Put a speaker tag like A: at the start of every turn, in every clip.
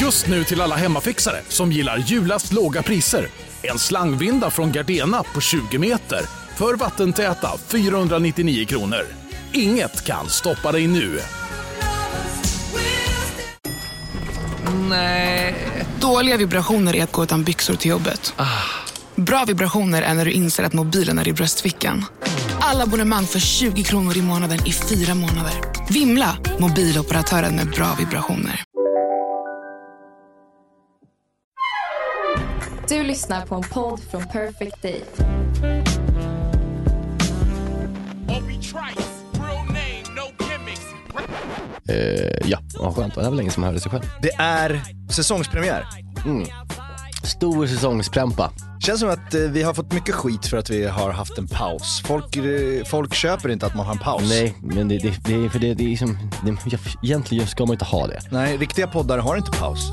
A: Just nu till alla hemmafixare som gillar julast låga priser. En slangvinda från Gardena på 20 meter för vattentäta 499 kronor. Inget kan stoppa dig nu.
B: Nej. Dåliga vibrationer är att gå utan byxor till jobbet. Bra vibrationer är när du inser att mobilen är i bröstfickan. Alla abonnemang för 20 kronor i månaden i fyra månader. Vimla! Mobiloperatören med bra vibrationer.
C: Du lyssnar på en podd från Perfect Day.
D: Eh, ja, vad skönt. Det var länge som man hörde sig själv.
E: Det är säsongspremiär.
D: Stor säsongsprämpa.
E: Känns som att eh, vi har fått mycket skit för att vi har haft en paus. Folk, eh, folk köper inte att man har en paus.
D: Nej, men det, det, det, för det, det är liksom, det, jag, egentligen ska man inte ha det.
E: Nej, riktiga poddar har inte paus.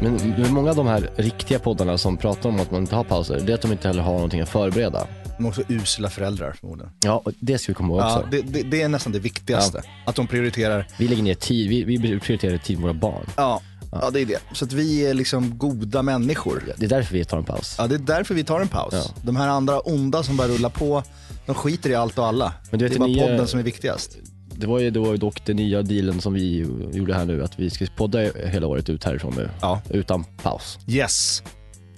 D: Men, men många av de här riktiga poddarna som pratar om att man inte har pauser, det är att de inte heller har någonting att förbereda.
E: Men också usla föräldrar förmodligen.
D: Ja, och det ska vi komma ihåg
E: Ja,
D: också.
E: det, det, det är nästan det viktigaste. Att de prioriterar,
D: Vi lägger ner tid, vi, vi prioriterar tid med våra barn.
E: ja, ja det är det. Så att vi är liksom goda människor.
D: Det är därför vi tar en paus.
E: Ja, det är därför vi tar en paus.
D: Ja.
E: De här andra onda som bara rullar på, de skiter i allt och alla.
D: Men du vet,
E: det är bara
D: ni, eh,
E: podden som är viktigast.
D: Det var ju då dock den nya dealen som vi gjorde här nu, att vi ska podda hela året ut härifrån nu.
E: Ja.
D: Utan paus.
E: Yes.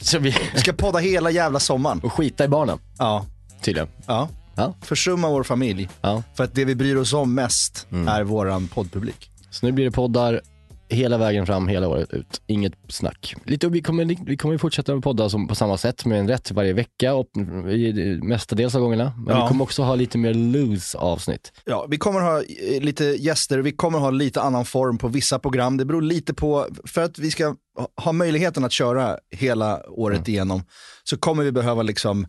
D: Så vi...
E: Vi ska podda hela jävla sommaren.
D: Och skita i barnen,
E: Ja,
D: tydligen.
E: ja.
D: Ja.
E: Försumma vår familj.
D: Ja.
E: För att det vi bryr oss om mest är våran poddpublik.
D: Så nu blir det poddar hela vägen fram, hela året ut. Inget snack. Lite, och vi kommer vi kommer ju fortsätta med poddar som, på samma sätt, med en rätt varje vecka, och, i, mestadels av gångerna. Men
E: Ja.
D: vi kommer också ha lite mer loose avsnitt.
E: Ja, vi kommer ha eh, lite gäster, vi kommer ha lite annan form på vissa program. Det beror lite på, för att vi ska ha- ha möjligheten att köra hela året igenom så kommer vi behöva liksom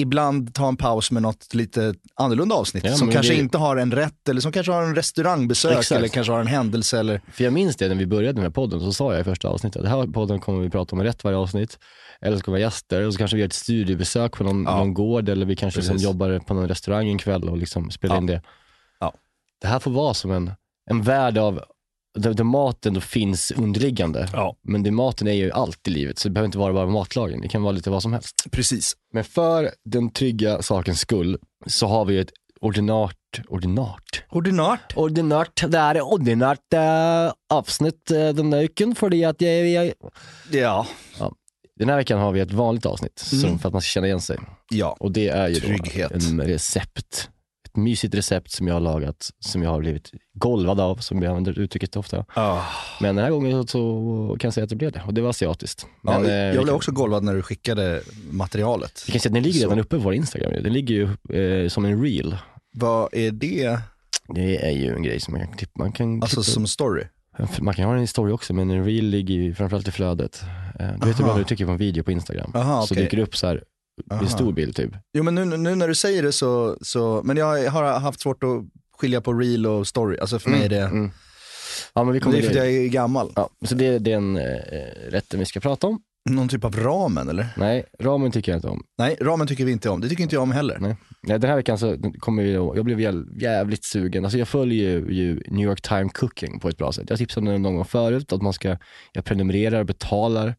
E: ibland ta en paus med något lite annorlunda avsnitt
D: Ja,
E: som
D: men
E: kanske
D: det-
E: inte har en rätt eller som kanske har en restaurangbesök
D: Exakt.
E: eller kanske har en händelse eller
D: För jag minns det när vi började med podden, så sa jag i första avsnittet, den här podden kommer vi prata om rätt varje avsnitt. Eller så kommer vi ha gäster, och så kanske vi gör ett studiebesök på någon, någon gård, eller vi kanske liksom
E: Precis.
D: jobbar på någon restaurang en kväll och liksom spelar
E: Ja.
D: in det.
E: Ja.
D: Det här får vara som en, en värld av, där, där maten då finns underliggande.
E: Ja.
D: Men det, maten är ju allt i livet, så det behöver inte vara bara matlagen, det kan vara lite vad som helst.
E: precis.
D: Men för den trygga sakens skull så har vi ju ett ordinart, ordinart
E: Ordinart.
D: Ordinært. Det er ordinært eh, avsnitt eh, denne uken, fordi at jeg, jeg
E: Ja.
D: Den här veckan har vi ett vanligt avsnitt, som, för att man ska känna igen sig.
E: ja.
D: Och det är ju
E: Trygghet.
D: då en recept. Ett mysigt recept som jag har lagat, som jag har blivit golvad av, som jag använder uttrycket ofta.
E: Ah,
D: Men den här gången så, så kan jag säga att det blev det. Och det var asiatiskt. Men,
E: ja,
D: eh, vi
E: jag blev
D: kan-
E: också golvad när du skickade materialet.
D: Vi kan säga att den ligger
E: Så.
D: redan uppe på vår Instagram. ju. Den ligger ju eh, som en reel.
E: Vad är det,
D: Det är ju en grej som man kan klippa. Man kan
E: alltså
D: klippa-
E: som story?
D: Man kan ha en historia också, men en reel ligger ju framförallt i flödet. Eh, Du vet
E: Aha.
D: ibland när du trycker på en video på Instagram,
E: Aha,
D: så
E: okej.
D: dyker det upp så här,
E: Aha.
D: en stor bild typ.
E: Jo men nu, nu när du säger det så, så, men jag har haft svårt att skilja på real och story. Alltså för mig är det,
D: mm. Ja, men vi
E: det
D: kommer
E: är för att
D: till-
E: jag är gammal.
D: ja, så det, det är den eh, rätten vi ska prata om.
E: Någon typ av ramen eller?
D: Nej, ramen tycker jag inte om.
E: Nej, ramen tycker vi inte om. Det tycker inte jag om heller.
D: Nej. Nej, den här veckan så kommer vi, jag blev jäl- jävligt sugen. Alltså jag följer ju, ju New York Times Cooking på ett bra sätt. Jag tipsade om det någon gång förut, att man ska, jag prenumererar, betalar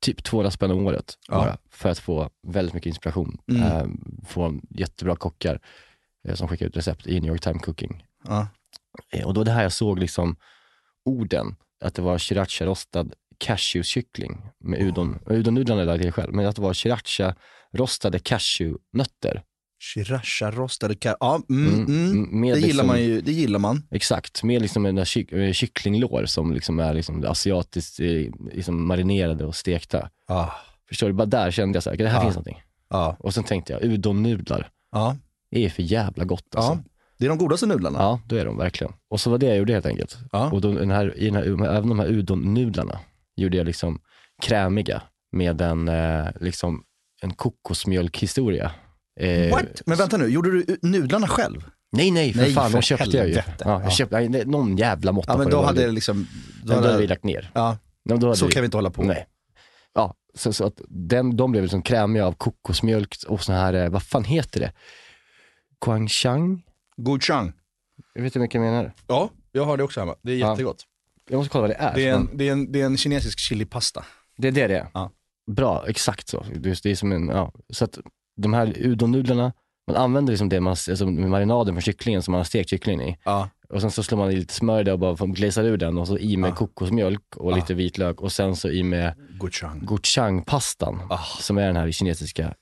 D: typ 200 spänn om året bara, för att få väldigt mycket inspiration
E: Mm.
D: eh, från jättebra kockar eh, som skickar ut recept i New York Times Cooking.
E: Ja.
D: Eh, och då det här jag såg liksom orden, att det var sriracharostad cashewkyckling med udon. Udonnudlarna lagde jag själv, men att det var sriracharostade cashewnötter.
E: Sriracha rostade kar... Ja, mm, mm,
D: Mm, mm, med
E: Det gillar
D: liksom-
E: man ju. Det gillar man.
D: Exakt, med liksom den där kyck, eh, kycklinglår som liksom är liksom asiatiskt eh, liksom marinerade och stekta.
E: Ja.
D: Förstår du? Bara där kände jag så här, det här
E: Ja.
D: finns någonting.
E: Ja.
D: Och sen tänkte jag, udonnudlar
E: Ja.
D: är ju för jävla gott alltså.
E: Ah. ja.
D: Ja.
E: Det är de godaste nudlarna.
D: ja, då är de verkligen. Och så var det jag gjorde helt enkelt.
E: Ja.
D: Och då, den här, i den här, även de här udonnudlarna gjorde jag liksom krämiga med en, eh, liksom, en kokosmjölkhistoria. Eh,
E: What? Men vänta nu, gjorde du nudlarna själv?
D: Nej, nej, för
E: Nej,
D: fan,
E: för
D: de köpte jag ju.
E: helvete.
D: Ja, jag
E: Ja.
D: köpte, nej, nej, någon jävla måtta
E: Ja,
D: på
E: men
D: det
E: då
D: var
E: hade
D: det.
E: jag liksom, då Då
D: Då hade
E: hade-
D: vi lagt ner.
E: Ja,
D: Ja, men då hade
E: så kan vi inte hålla på.
D: Nej. Ja, så, så att den, de blev liksom krämiga av kokosmjölk och sån här, eh, vad fan heter det? Guangchang?
E: Gochujang.
D: Jag vet inte vilka jag menar.
E: Ja, jag har det också hemma. Det är
D: Ja.
E: jättegott.
D: Jag måste kolla vad det är.
E: Det, är
D: för
E: en, det, är en, det är en kinesisk chilipasta.
D: Det är det det är?
E: Ja.
D: Bra, exakt så. Det är, det är som en, ja. Så att de här udonnudlarna, man använder liksom det man, alltså marinaden från kycklingen som man har stekt kycklingen i.
E: Ja.
D: Och sen så slår man i lite smör i det och bara glazar ur den och så i med
E: Ja.
D: kokosmjölk och lite vitlök och sen så i med
E: Gochujang.
D: gochujang-pastan
E: Ah.
D: som är den här kinesiska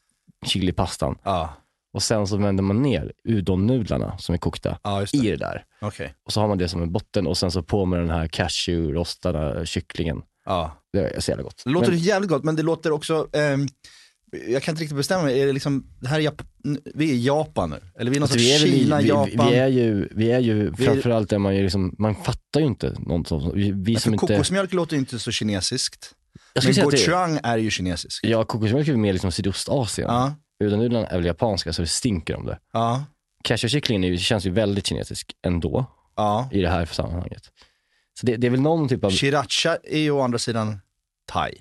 D: chilipastan.
E: Ja,
D: Och sen så vänder man ner udonnudlarna som är kokta
E: ja just
D: i
E: det.
D: det där.
E: Okej.
D: Och så har man det som en botten och sen så på med den här cashew-rostade kycklingen.
E: Ja.
D: Det är så jävla gott.
E: Det låter
D: Men-
E: jävligt gott, men det låter också, ehm, jag kan inte riktigt bestämma mig, är det liksom, det här är Jap- vi är i Japan nu? Eller vi är någon
D: Alltså,
E: sorts
D: vi, är väl i,
E: Kina,
D: vi,
E: Japan?
D: vi är ju, vi är ju
E: Vi-
D: framförallt där man är liksom, man fattar ju inte något sånt. Vi, vi
E: Ja,
D: som
E: för
D: inte...
E: kokosmjölk låter ju inte så kinesiskt.
D: Jag skulle
E: Alltså, Men
D: säga att det,
E: gochujang är ju kinesisk.
D: ja, kokosmjölk är väl mer liksom Sydostasien.
E: Ja,
D: Udonnudlarna är väl japanska så det stinker om det.
E: ja,
D: Cashewkycklingen är ju- känns ju väldigt kinesisk ändå
E: ja.
D: i det här sammanhanget. Så det, det är väl någon typ av...
E: Sriracha är ju å andra sidan thai.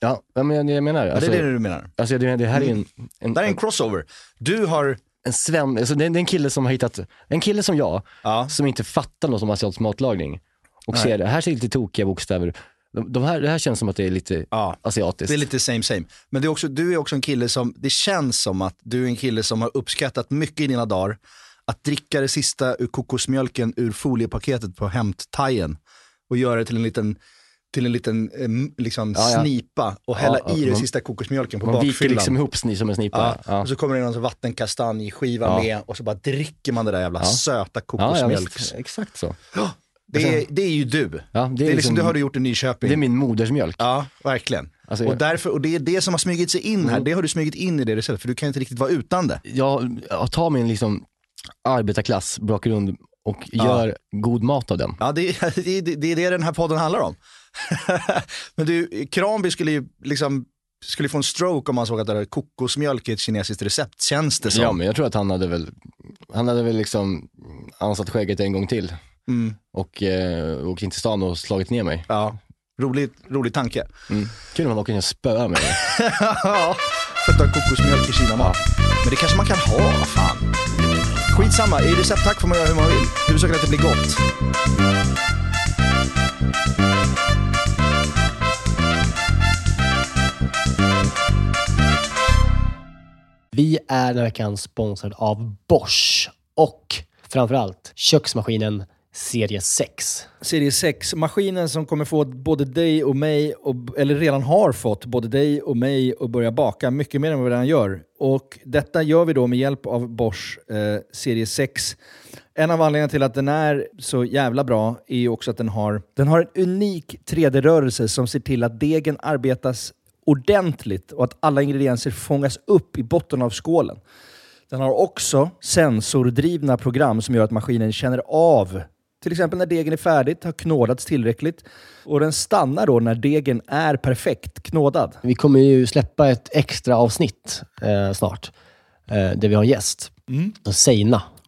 D: Ja, ja, men jag, jag menar
E: Ja, det
D: alltså,
E: är det du menar.
D: alltså, det, det här är ju en, en,
E: Det här är
D: en,
E: en crossover. Du har,
D: en sven, alltså, det, är, det är en kille som har hittat, en kille som jag,
E: ja,
D: som inte fattar något om asiatisk matlagning och
E: Nej.
D: ser det, här ser lite tokiga bokstäver. De, de här, det här känns som att det är lite
E: ja.
D: asiatiskt.
E: Det är lite same same. Men det är också, du är också en kille som, det känns som att du är en kille som har uppskattat mycket i dina dagar att dricka det sista ur kokosmjölken ur foliepaketet på hämttajen och göra det till en liten, till en liten eh, m- liksom
D: Ja, ja.
E: snipa och hälla
D: Ja, ja,
E: i det
D: man-
E: sista kokosmjölken på
D: Man viker
E: bakfyllan.
D: liksom ihop sni som en
E: Ja, alltså,
D: snipa. Ja.
E: Och så kommer det någon sån vattenkastanjskiva
D: Ja.
E: med och så bara dricker man det där jävla
D: Ja.
E: söta
D: Ja, ja,
E: kokosmjölks.
D: visst. Exakt så.
E: det, är, det är ju du. Det
D: Ja,
E: är liksom, det har du gjort i Nyköping.
D: det är min modersmjölk.
E: Ja, verkligen.
D: Alltså, Mm.
E: och,
D: jag-
E: därför, och det är det som har smugit sig in här. Det har du smugit in i det receptet, för du kan inte riktigt vara utan det.
D: Jag, jag tar min liksom arbetarklassbakgrund och gör god mat av den.
E: Ja, det, det, det, det är det den här podden handlar om. Men du, Kranby skulle ju liksom, skulle få en stroke om man såg att det hade kokosmjölk i ett kinesiskt recept, känns det som.
D: Ja, men jag tror att han hade väl, han hade väl liksom ansatt skägget en gång till
E: Mm,
D: och eh, åkt in till stan och slagit ner mig.
E: ja. Rolig, rolig tanke.
D: Kul om han åker in och spöar mig.
E: Ja, för att ha kokosmjölk i kinamat. Men det kanske man kan ha, vad fan. Skitsamma, i recepttack får man göra hur man vill. Huvudsaken är att det blir gott.
F: Vi är den här veckan sponsrad av Bosch och framförallt köksmaskinen serie 6.
G: Serie 6, maskinen som kommer få både dig och mig, och, eller redan har fått både dig och mig att börja baka mycket mer än vad vi redan gör. Och detta gör vi då med hjälp av Bosch eh, Serie 6. En av anledningarna till att den är så jävla bra är ju också att den har, den har en unik 3D-rörelse som ser till att degen arbetas ordentligt och att alla ingredienser fångas upp i botten av skålen. Den har också sensordrivna program som gör att maskinen känner av till exempel när degen är färdigt, har knådats tillräckligt och den stannar då när degen är perfekt knådad.
F: Vi kommer ju släppa ett extra avsnitt eh, snart eh, där vi har en gäst. Seina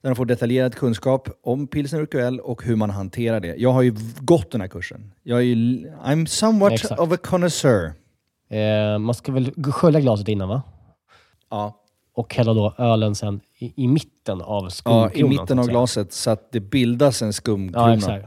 G: Där de får detaljerad kunskap om pilsner urquell och hur man hanterar det. Jag har ju v- gått den här kursen. Jag är ju, l- I'm somewhat
F: Exakt.
G: of a connoisseur.
F: Eh, man ska väl g- skölja glaset innan va?
G: Ja,
F: Och hälla då ölen sen i, i mitten av
G: ja,
F: skumkronan.
G: I
F: så
G: mitten
F: att
G: av
F: säga.
G: glaset så att det bildas en skumkrona
F: Ja, exakt.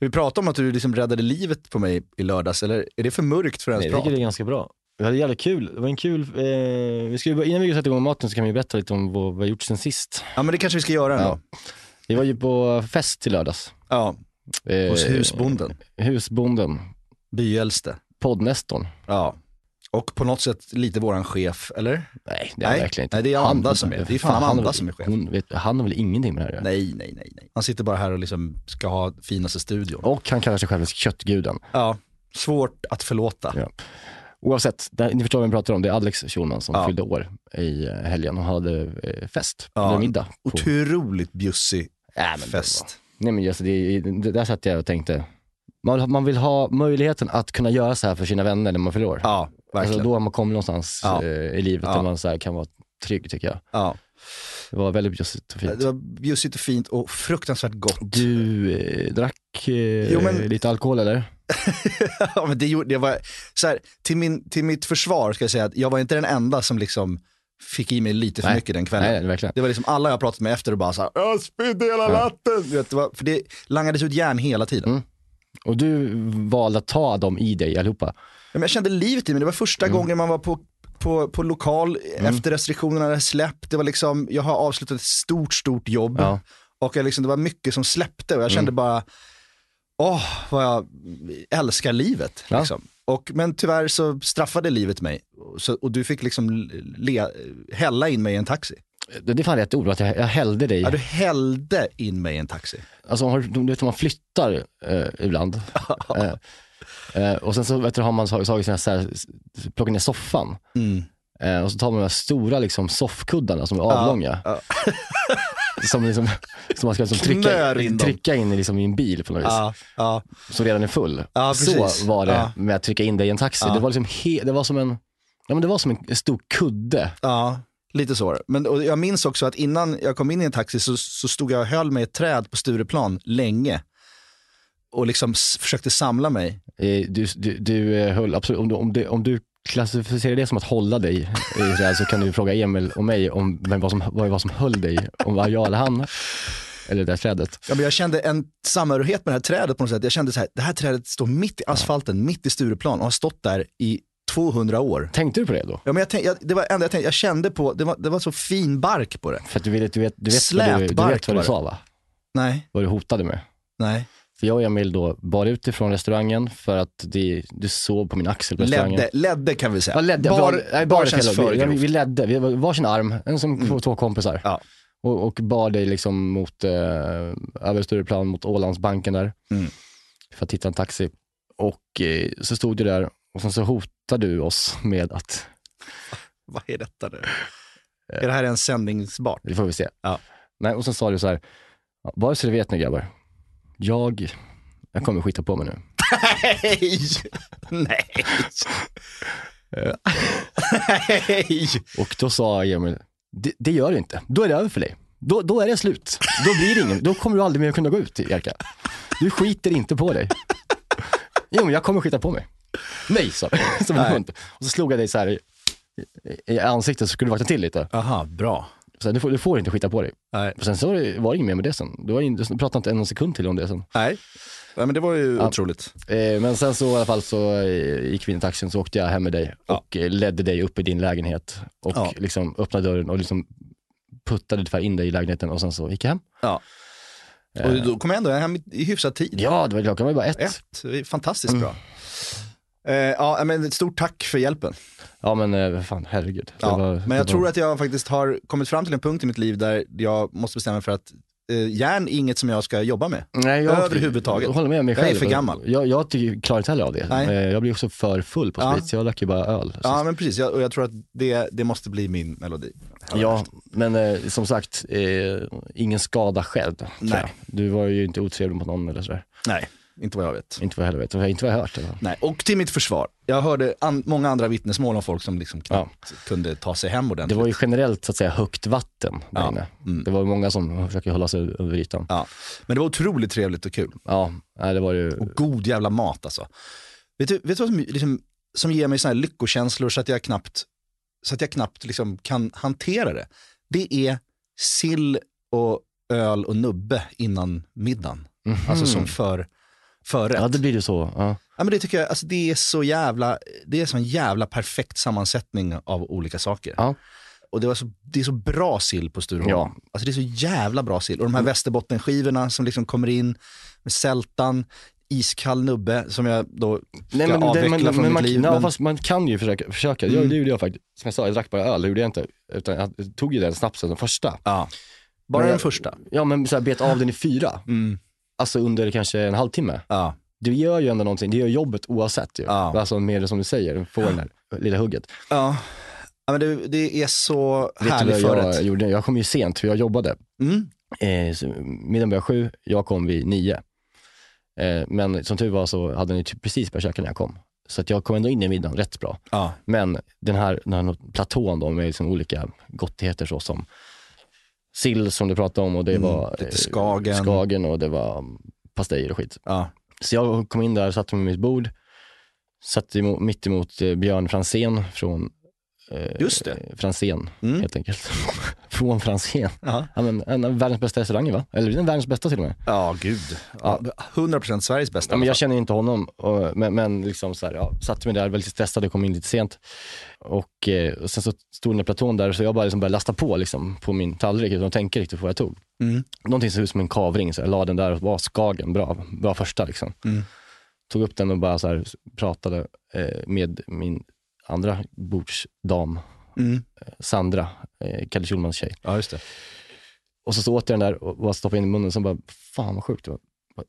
E: Vi pratade om att du liksom räddade livet på mig i lördags, eller är det för mörkt för ens
D: Nej, jag
E: prat?
D: tycker det är ganska bra. Vi hade jävligt kul. Det var en kul... Eh, vi ska, ju bör- innan vi sätter igång med maten så kan vi berätta lite om vad vi har gjort sen sist.
E: Ja men det kanske vi ska göra ändå. Ja.
D: Ja. Vi var ju på fest till lördags. Eh,
E: hos husbonden,
D: Husbonden.
E: byäldste.
D: Poddnestorn.
E: Ja. Och på något sätt lite våran chef, eller?
D: Nej, det är han
E: Nej.
D: verkligen inte.
E: Nej, det är
D: Han-
E: Amanda som är- det är fan
D: han har
E: Amanda
D: väl-
E: som är chef.
D: Hon, vet, han har väl ingenting med det här att göra.
E: Nej, nej, nej, nej. Han sitter bara här och liksom ska ha finaste studion.
D: Och han kallar sig själv för köttguden.
E: Ja. Svårt att förlåta.
D: Ja. Oavsett, det, ni förstår vad vi pratar om. Det är Alex Schulman som
E: Ja.
D: fyllde år i eh, helgen och hade eh, fest,
E: Ja.
D: eller middag. på-
E: Otroligt bjussig
D: Ja, men det var-
E: fest.
D: Nej men alltså, det, det, där satt jag och tänkte, man, man vill ha möjligheten att kunna göra så här för sina vänner när man fyller år.
E: Ja, verkligen.
D: alltså, då har man kommit någonstans
E: Ja.
D: eh, i livet
E: Ja.
D: där man så här kan vara trygg tycker jag.
E: ja.
D: Det var väldigt bjussigt och fint.
E: Det var bjussigt och fint och fruktansvärt gott.
D: Du eh, drack eh,
E: Jo, men-
D: lite alkohol eller?
E: Ja, men det gjorde, det var, så här, till, min, till mitt försvar ska jag säga att jag var inte den enda som liksom fick i mig lite för
D: Nej.
E: mycket den kvällen.
D: Nej, verkligen.
E: Det var liksom alla jag pratat med efter och bara såhär, jag spydde hela natten. Du Vet, det var, för det langades ut järn hela tiden.
D: Mm. Och du valde att ta dem i dig allihopa.
E: Ja, Men jag kände livet i mig, det var första
D: Mm.
E: gången man var på, på, på lokal efter restriktionerna hade släppt. Det var liksom, jag har avslutat ett stort, stort jobb.
D: Ja. Mm.
G: Och jag liksom, det var mycket som släppte och jag kände bara, åh vad jag älskar livet.
D: Ja.
G: Liksom. Och, men tyvärr så straffade livet mig. Så, och du fick liksom le, hälla in mig i en taxi.
D: Det är fan rätt ord, att jag, jag hällde dig.
G: Ja, du hällde in mig i en taxi.
D: Alltså, har, du vet, man flyttar eh, ibland. eh, eh, och sen så vet du, har man tagit, tagit sina, så här, plockat ner soffan.
G: Mm.
D: Eh, och så tar man de här stora liksom, soffkuddarna som är avlånga. som, liksom, som man ska liksom, trycka,
G: Knör in dem.
D: trycka in i, liksom, i en bil på något vis.
G: Ja, ja.
D: Som redan är full.
G: Ja, precis.
D: så var det
G: Ja.
D: med att trycka in dig i en taxi. Det, var liksom he- det var som en Ja, men det var som en stor kudde.
G: Ja, lite så. var det. Men och jag minns också att innan jag kom in i en taxi så, så stod jag och höll mig i ett träd på Stureplan länge. Och liksom s- försökte samla mig.
D: Eh, Du, du, du eh, höll, absolut, om, du, om, du, om du klassificerar det som att hålla dig i så, här, så kan du fråga Emil och mig om vem, vad, som, vad det var som höll dig. Om det var jag eller han. Eller det där trädet.
G: Ja, men jag kände en samhörighet med det här trädet på något sätt. Jag kände så här, det här trädet står mitt i asfalten, mitt i Stureplan och har stått där i 200 år.
D: Tänkte du på det då?
G: Ja, men jag tänk, jag, det var det enda jag tänkte, jag kände på, det var, det var så fin bark på det.
D: För att du vet, du vet, du vet, vad, du, du
G: Slätbark
D: vet vad
G: var
D: du
G: det.
D: sa va?
G: Nej,
D: Vad du hotade med.
G: nej.
D: För jag och Emil då bar ut ifrån restaurangen för att det, du sov på min axel på restaurangen.
G: Ledde, ledde kan vi säga.
D: Ja, ledde.
G: Bar,
D: Bar, nej,
G: bar
D: bar
G: känns för
D: vi, ja, vi, vi
G: grovt. Mm.
D: ledde, vi var varsin arm, en som två kompisar.
G: Ja.
D: Och, och bar dig liksom mot, eh, över Stureplan mot Ålandsbanken där.
G: Mm.
D: För att hitta en taxi. Och eh, så stod du där och sen så hotade du oss med att,
G: Vad är detta nu? Är det här en sändningsbart?
D: det får vi se.
G: Ja.
D: Nej, och sen sa du så här, "Ja, bara så du vet nu grabbar, jag, jag kommer skita på mig nu.
G: Nej! Nej! Nej!
D: Och då sa Emil, det, det gör du inte. Då är det över för dig. Då, då är det slut. Då blir det ingen, då kommer du aldrig mer kunna gå ut, Jerka. Du skiter inte på dig. Jo, men jag kommer skita på mig. Nej, sa jag, som en hund. Och så slog jag dig så här i, i, i ansiktet så skulle du vakna till lite.
G: Aha, bra.
D: Så här, du, får, du får inte skita på dig.
G: Nej.
D: Och sen så var det, var det inget mer med det sen. Du, var in, du pratade inte en sekund till om det sen.
G: Nej. Nej, men det var ju otroligt.
D: Eh, men sen så i alla fall så eh, gick vi in i taxin så åkte jag hem med dig och eh, ledde dig upp i din lägenhet och
G: Ja.
D: liksom öppnade dörren och liksom puttade ungefär in dig i lägenheten och sen så gick jag hem.
G: Ja. Och då kom jag ändå hem i- i hyfsad tid.
D: Ja, det var klockan var ju bara ett.
G: Ett. Det är Fantastiskt bra. Eh, ja, men ett stort tack för hjälpen.
D: Ja men eh, vad fan, herregud.
G: Ja.
D: var,
G: men jag
D: det
G: tror
D: var,
G: att jag faktiskt har kommit fram till en punkt i mitt liv där jag måste bestämma mig för att eh, järn är inget som jag ska jobba med.
D: Nej,
G: överhuvudtaget.
D: Jag håller med mig
G: Jag är
D: själv.
G: för gammal.
D: Jag, jag tycker, klarar inte heller av det.
G: Nej.
D: Eh, Jag blir också för full på
G: Ja.
D: sprit, så jag drack ju bara öl.
G: Ja, men precis. Jag, och jag tror att det, det måste bli min melodi.
D: Ja, men eh, som sagt, eh, ingen skada själv. tror
G: Nej.
D: jag. Du var ju inte otrevlig mot någon eller sådär.
G: Nej, inte vad jag vet.
D: Inte vad jag heller vet, inte vad jag hört. i alla fall.
G: Nej, och till mitt försvar, jag hörde an- många andra vittnesmål om folk som liksom knappt kunde ta sig hem
D: Det
G: ordentligt.
D: var ju generellt så att säga högt vatten där
G: Ja,
D: inne.
G: mm.
D: Det var ju många som försöker hålla sig över ytan.
G: ja. Men det var otroligt trevligt och kul.
D: Ja, nej, det var ju...
G: Och god jävla mat alltså. Vet du, vet du vad som, liksom, som ger mig såna här lyckokänslor så att jag knappt, så att jag knappt liksom kan hantera det? Det är sill och öl och nubbe innan middagen. Alltså som för, förrätt.
D: Mm. Ja, det blir ju så. Ja.
G: Ja, men det tycker jag, alltså det är så jävla, det är så en jävla perfekt sammansättning av olika saker.
D: Ja.
G: Och det, var så, det är så bra sill på Stureholm.
D: Ja. Mm.
G: Alltså det är så jävla bra sill. Och de här västerbottenskivorna som liksom kommer in med sältan, iskall nubbe som jag då ska
D: Nej, men, det-
G: avveckla
D: men,
G: från
D: men
G: mitt
D: man,
G: liv.
D: ja,
G: men, Mm.
D: fast man kan ju försöka. försöka. Jag, det gjorde jag faktiskt. Som jag sa, jag drack bara öl. Det gjorde jag inte. Utan jag tog ju den snapsen, den första.
G: ja. Bara
D: Men
G: den
D: jag-
G: första.
D: Ja, men så här, bet av den i fyra.
G: Mm.
D: Alltså under kanske en halvtimme.
G: Ja.
D: Du gör ju ändå någonting. Det gör jobbet oavsett ju.
G: Ja.
D: Alltså med det som du säger, få det där lilla hugget.
G: Ja. ja, men det, det är så
D: Vet du
G: härlig
D: vad jag
G: förrätt.
D: gjorde? Jag kom ju sent, för jag jobbade.
G: Mm.
D: Eh, så middagen började sju, jag kom vid nio. Eh, men som tur var så hade ni typ precis börjat käka när jag kom. Så att jag kom ändå in i middagen rätt bra.
G: Ja.
D: Men den här, den här platån då med liksom olika gottigheter såsom sill som du pratade om och det
G: Mm,
D: var
G: lite
D: eh,
G: Skagen.
D: skagen och det var mm, pastejer och skit.
G: Ja.
D: Så jag kom in där, satte mig vid mitt bord, satt emo- mitt emot eh, Björn Fransén från eh,
G: Just det.
D: Franzén,
G: Mm.
D: helt enkelt. Från Franzén.
G: Ja.
D: Ja, men, en av världens bästa restauranger va? Eller den världens bästa till och med.
G: Ja, gud. Ja, 100% Sveriges bästa.
D: Ja, men jag
G: i
D: känner ju inte honom, och, men, men liksom så här, ja, satte mig där, väldigt stressad, jag kom in lite sent. Och, eh, och sen så stod den där platån där, så jag bara liksom började lasta på liksom, på min tallrik utan att tänka riktigt på vad jag tog.
G: Mm.
D: Någonting som såg ut som en kavring, så jag la den där och var skagen, bra, bra första. Liksom.
G: Mm.
D: Tog upp den och bara så här, pratade eh, med min andra bordsdam,
G: alla fall. Mm.
D: Sandra, eh, Kalle Schulmans tjej.
G: Ja, just det.
D: Och så, så åt jag den där och bara stoppade in i munnen, sen bara, fan vad sjukt det var.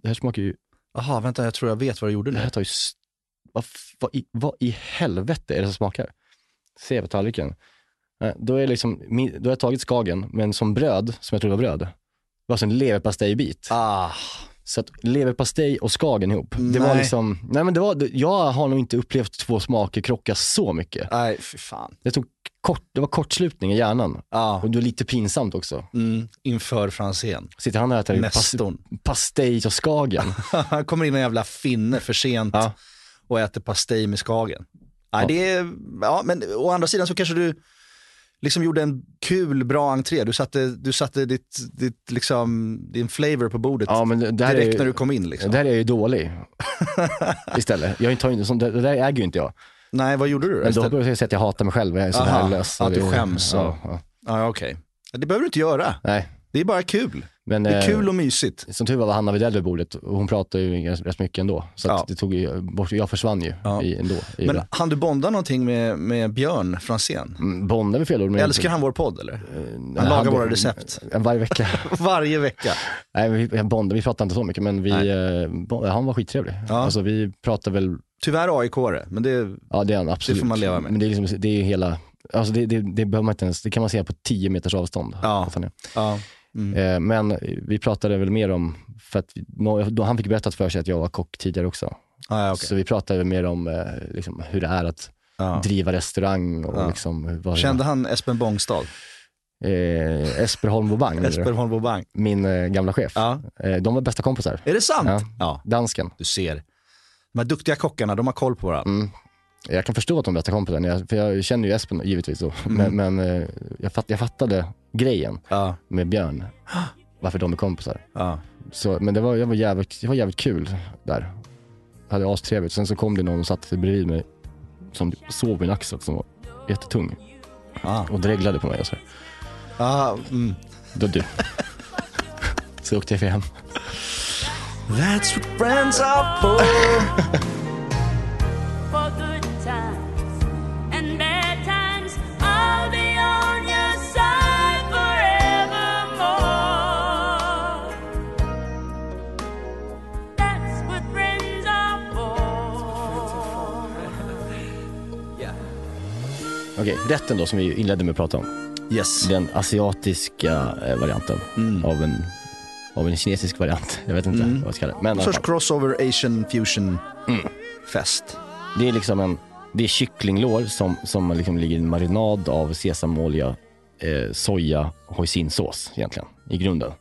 D: Det här smakar ju
G: Jaha, vänta, jag tror jag vet vad du gjorde
D: Det
G: nu.
D: här tar ju... s- Vad, f- vad, i, vad i helvete är det som smakar? Ser jag på tallriken. Eh, Då, är liksom, min- då har jag tagit skagen, men som bröd, som jag trodde var bröd, det var alltså en leverpastejbit.
G: Ah,
D: Så att leverpastej och skagen ihop. Det var
G: Nej.
D: liksom, nej men det var, det- jag har nog inte upplevt två smaker krocka så mycket.
G: nej, fy fan.
D: Det, tog kort, det var kortslutning i hjärnan.
G: Ah.
D: Och det var lite pinsamt också.
G: Mm. Inför Franzén.
D: Sitter han och äter pas,
G: Nestorn.
D: pastej och skagen.
G: Han kommer in en jävla finne för sent
D: Ja.
G: och äter pastej med skagen. Nej,
D: Ja.
G: det är, ja, men å andra sidan så kanske du liksom gjorde en kul, bra entré. Du satte, du satte ditt, ditt, liksom, din flavor på bordet
D: ja, men det, det här är
G: direkt
D: ju-
G: när du kom in. Liksom.
D: Där är jag ju dålig istället. Jag tar ju inte, sånt- det där äger ju inte jag.
G: Nej, vad gjorde du då?
D: Men då
G: istället?
D: börjar jag säga att jag hatar mig själv och jag är så
G: Aha,
D: här lös.
G: att du
D: Det-
G: skäms och-
D: Ja, ja.
G: Ja, ja, okej. Det behöver du inte göra.
D: Nej,
G: Det är bara kul.
D: men
G: Det är
D: eh,
G: kul och mysigt.
D: som tur var var Hanna Widell vid bordet och hon pratade ju ganska- rätt mycket ändå. Så att
G: Ja.
D: det tog ju bort, jag försvann ju
G: Ja.
D: i, ändå. I
G: Men
D: det.
G: han du bonda någonting med, med Björn Franzén?
D: Mm, Bonde är väl fel ord. men-
G: Älskar han vår podd eller?
D: Eh,
G: Han lagar våra recept.
D: Varje vecka.
G: Varje vecka.
D: Nej, men vi, bonde, vi pratade inte så mycket, men vi, eh, Bonde- han var skittrevlig.
G: Ja.
D: Alltså, vi pratade väl
G: Tyvärr AIK-are, men det,
D: Ja det är han absolut.
G: Det får man leva med.
D: Men det är, liksom, det är ju hela, alltså det, det, det behöver man inte ens, det kan man säga på 10 meters avstånd.
G: Ja.
D: Att han är.
G: ja. Mm.
D: Eh, Men vi pratade väl mer om, för att vi- nå- då han fick berättat för sig att jag var kock tidigare också.
G: Ah, ja, okej.
D: Så vi pratade väl mer om eh, liksom, hur det är att
G: ja.
D: driva restaurang och
G: Ja.
D: liksom, hur- vad
G: Kände han Espen Bångstad?
D: eh, Esper Holm och Bang,
G: Esper Holmbo Bang?
D: min eh, gamla chef.
G: Ja.
D: Eh, de var bästa kompisar.
G: Är det sant?
D: Ja.
G: Ja.
D: Dansken.
G: Du ser. De här duktiga kockarna, de har koll på varandra.
D: Mm. Jag kan förstå att de är bästa kompisar, jag- för jag känner ju Espen givetvis. Då.
G: Mm.
D: Men, men eh, jag, fatt, jag fattade grejen.
G: Ja,
D: med Björn. Varför de är kompisar.
G: ja.
D: Så, men det var, jag var jävligt, det var jävligt kul där. Hade astrevligt. Sen så kom det någon och satte sig bredvid mig som typ sov i en axel som var jättetung
G: Ah.
D: och dreglade på mig. Och så här,
G: Ah, mm.
D: då du. så åkte jag hem.
G: That's what friends are for.
H: for good times and bad times. I'll be on your side forevermore. That's what friends are for.
D: Okej, rätten då som vi inledde med att prata om.
G: Yes.
D: Den asiatiska eh, varianten av, en, av en kinesisk variant. Jag vet inte vad jag ska kalla det. Men i alla
G: Sorts
D: fall,
G: crossover asian fusion
D: Mm.
G: fest.
D: det är liksom en det är kycklinglår som, som liksom ligger i en marinad av sesamolja, eh, soja och hoisinsås egentligen i grunden.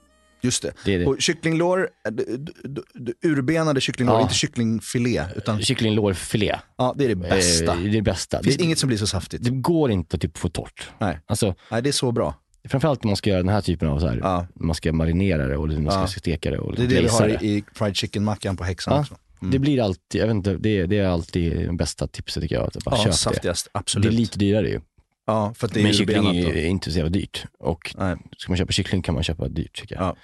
G: Just det.
D: Det är det.
G: Och kycklinglår, eh, d- d- d- urbenade kycklinglår,
D: Ja.
G: inte kycklingfilé. Utan,
D: Kycklinglårfilé.
G: ja, det är det
D: eh,
G: bästa.
D: Det är det bästa.
G: Det finns
D: det,
G: inget som blir så saftigt.
D: det går inte att typ få torrt.
G: Nej.
D: Alltså,
G: Nej, det är så bra.
D: framförallt när man ska göra den här typen av så här,
G: Ja.
D: man ska marinera det och liksom man ska
G: Ja.
D: steka det och
G: Det är det vi
D: glazea
G: har i, mm. i fried chicken-mackan på häxan
D: Ja.
G: också.
D: Det blir alltid, jag vet inte, det, det är alltid det bästa tipset tycker jag. Att bara
G: Ja,
D: köp det.
G: saftigast.
D: Det är
G: Absolut.
D: lite dyrare ju.
G: ja, för att det är
D: Men
G: urbenat.
D: kyckling är
G: då.
D: ju inte så jävla dyrt. Och
G: Nej.
D: ska man köpa kyckling kan man köpa dyrt tycker jag.
G: Ja.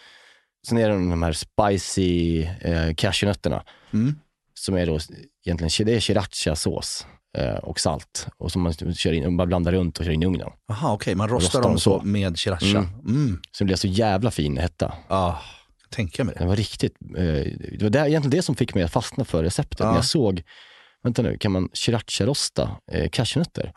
D: Sen är det de här spicy eh, cashewnötterna.
G: Mm.
D: Som är då egentligen det är srirachasås eh, och salt. Och som man kör in, bara blandar runt och kör in i ugnen.
G: Jaha, okej. Man rostar,
D: Rostar
G: dem
D: dem
G: så
D: så.
G: med sriracha. Mm.
D: Mm. Så det blev så jävla fin hetta.
G: Ah, tänka mig det.
D: Den var riktigt, eh, det var där, egentligen det som fick mig att fastna för receptet.
G: Ja.
D: När jag såg, vänta nu, kan man sriracharosta eh, cashewnötter?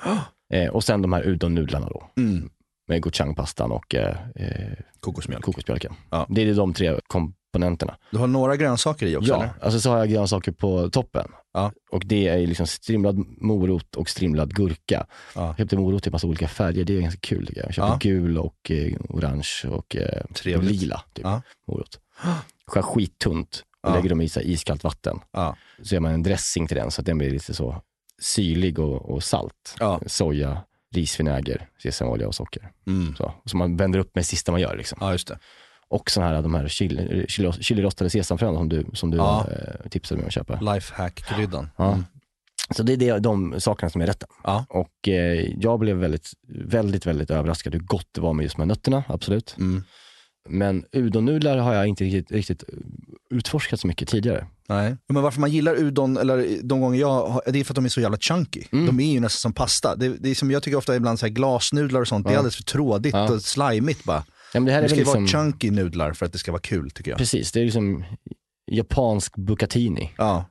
D: Eh, och sen de här udon-nudlarna då.
G: Mm.
D: Med gochujang-pastan och eh, eh,
G: Kokosmjölk.
D: kokosbjälken.
G: Ja.
D: Det är de tre komponenterna.
G: Du har några grönsaker i också
D: ja,
G: eller?
D: alltså så har jag grönsaker på toppen.
G: Ja.
D: Och det är ju liksom strimlad morot och strimlad gurka.
G: Ja.
D: Jag köpte morot i massa olika färger, det är ganska kul tycker jag. Jag köpte
G: Ja.
D: gul och eh, orange och eh,
G: Trevligt.
D: lila typ,
G: Ja.
D: morot. Skär skittunt och
G: Ja.
D: lägger dem i så här iskallt vatten.
G: Ja.
D: Så gör man en dressing till den så att den blir lite så syrlig och, och salt.
G: Ja.
D: Soja, risvinäger, sesamolja och socker.
G: Mm.
D: Så, som man vänder upp med det sista man gör. Liksom.
G: Ja, just det.
D: Och sådana här, de här chili- chili- chilirostade sesamfrön som du, som du
G: Ja.
D: eh, tipsade mig om att köpa.
G: Lifehack-kryddan.
D: Ja.
G: Mm.
D: Så det är det, de sakerna som är rätta.
G: Ja.
D: Och eh, jag blev väldigt, väldigt, väldigt överraskad hur gott det var med just de här nötterna, absolut.
G: Mm.
D: Men udonnudlar har jag inte riktigt, riktigt utforskat så mycket tidigare.
G: Nej. Men varför man gillar udon, eller de gånger jag har, det är för att de är så jävla chunky.
D: Mm.
G: De är ju nästan som pasta. Det, det är som jag tycker ofta ibland så här glasnudlar och sånt, det är alldeles för trådigt
D: Ja.
G: och slimigt bara.
D: Ja, men det här
G: Det
D: är
G: ska
D: väl
G: ju
D: liksom,
G: vara chunky nudlar för att det ska vara kul tycker jag.
D: precis, det är liksom japansk bucatini.
G: Ja.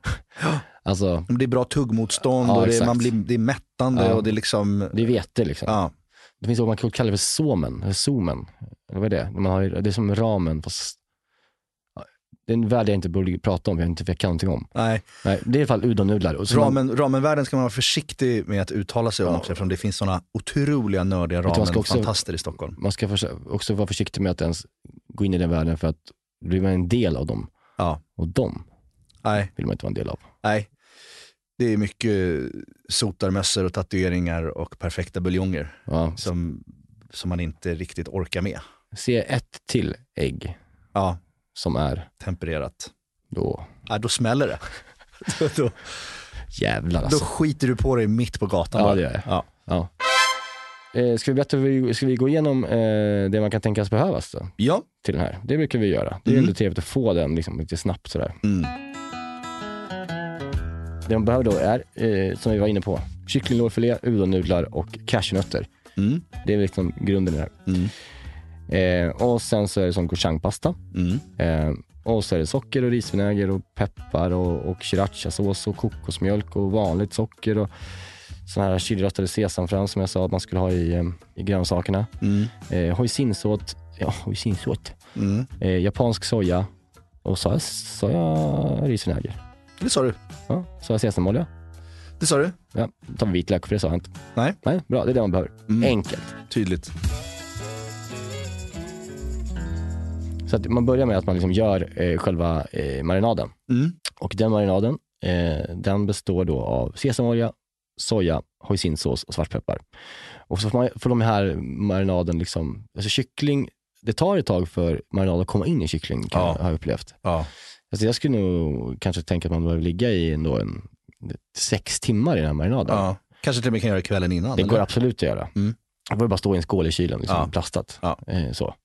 D: Alltså,
G: Men Det är bra tuggmotstånd
D: Ja,
G: och det,
D: exakt.
G: man blir, det är mättande
D: Ja.
G: och det är liksom,
D: det är vete liksom.
G: ja.
D: Det finns något man kan kalla för somen, eller somen. Eller vad är det? När Man har, det är som ramen fast ja, det är en värld jag inte borde prata om, jag inte jag kan någonting om.
G: Nej.
D: Nej, det är i alla fall udonnudlar. Och så man-
G: Ramen, ramenvärlden ska man vara försiktig med att uttala sig om
D: Ja.
G: också eftersom det finns sådana otroliga nördiga
D: man ska också-
G: ramenfantaster i Stockholm.
D: man ska förs- också vara försiktig med att ens gå in i den världen för att blir man en del av dem,
G: Ja.
D: och dem
G: Nej,
D: vill man inte vara en del av.
G: nej. Det är mycket sotarmössor och tatueringar och perfekta buljonger
D: Ja.
G: som, som man inte riktigt orkar med.
D: Se ett till ägg
G: Ja,
D: som är
G: tempererat.
D: då,
G: Ja, då smäller det. då, då,
D: jävlar
G: då
D: alltså.
G: skiter du på dig mitt på gatan.
D: Ja,
G: bara.
D: det gör jag.
G: Ja.
D: Ja. Eh, ska, vi berätta, hur vi- ska vi gå igenom eh, det man kan tänkas behövas då,
G: ja.
D: till den här? Det brukar vi göra. Det är
G: Mm.
D: ändå trevligt att få den liksom, lite snabbt sådär.
G: Mm.
D: Det man behöver då är, eh, som vi var inne på, kycklinglårfilé, udonnudlar och cashewnötter.
G: Mm.
D: Det är liksom grunden i det
G: Mm.
D: här. Eh, och sen så är det som gochangpasta.
G: Mm.
D: Eh, och så är det socker och risvinäger och peppar och, och srirachasås och kokosmjölk och vanligt socker och såna här chilirostade sesamfrön som jag sa att man skulle ha i, eh, i grönsakerna.
G: Mm.
D: Eh, hoisinsåt, ja hoisinsåt,
G: Mm.
D: eh, japansk soja och soja, soja risvinäger.
G: Det sa du.
D: Ja, soja sesamolja.
G: Det sa du.
D: Ja, tar vi vitlök för det sa jag inte.
G: Nej.
D: Nej, bra, det är det man behöver.
G: Mm.
D: Enkelt.
G: Tydligt.
D: Så att man börjar med att man liksom gör eh, själva eh, marinaden.
G: Mm.
D: Och den marinaden, eh, den består då av sesamolja, soja, hoisinsås och svartpeppar. Och så får, man, får de här marinaden, liksom, alltså kyckling, det tar ett tag för marinad att komma in i kyckling, kan
G: Ja.
D: jag, har jag upplevt.
G: Ja.
D: Alltså jag skulle nog kanske tänka att man behöver ligga i ändå en, sex timmar i den här marinaden.
G: ja. Kanske till och med kan göra det kvällen innan.
D: Det
G: eller?
D: går absolut att göra.
G: Mm.
D: Det var ju bara att stå i en skål i kylen, liksom,
G: Ja.
D: plastat.
G: Ja.
D: Eh, så.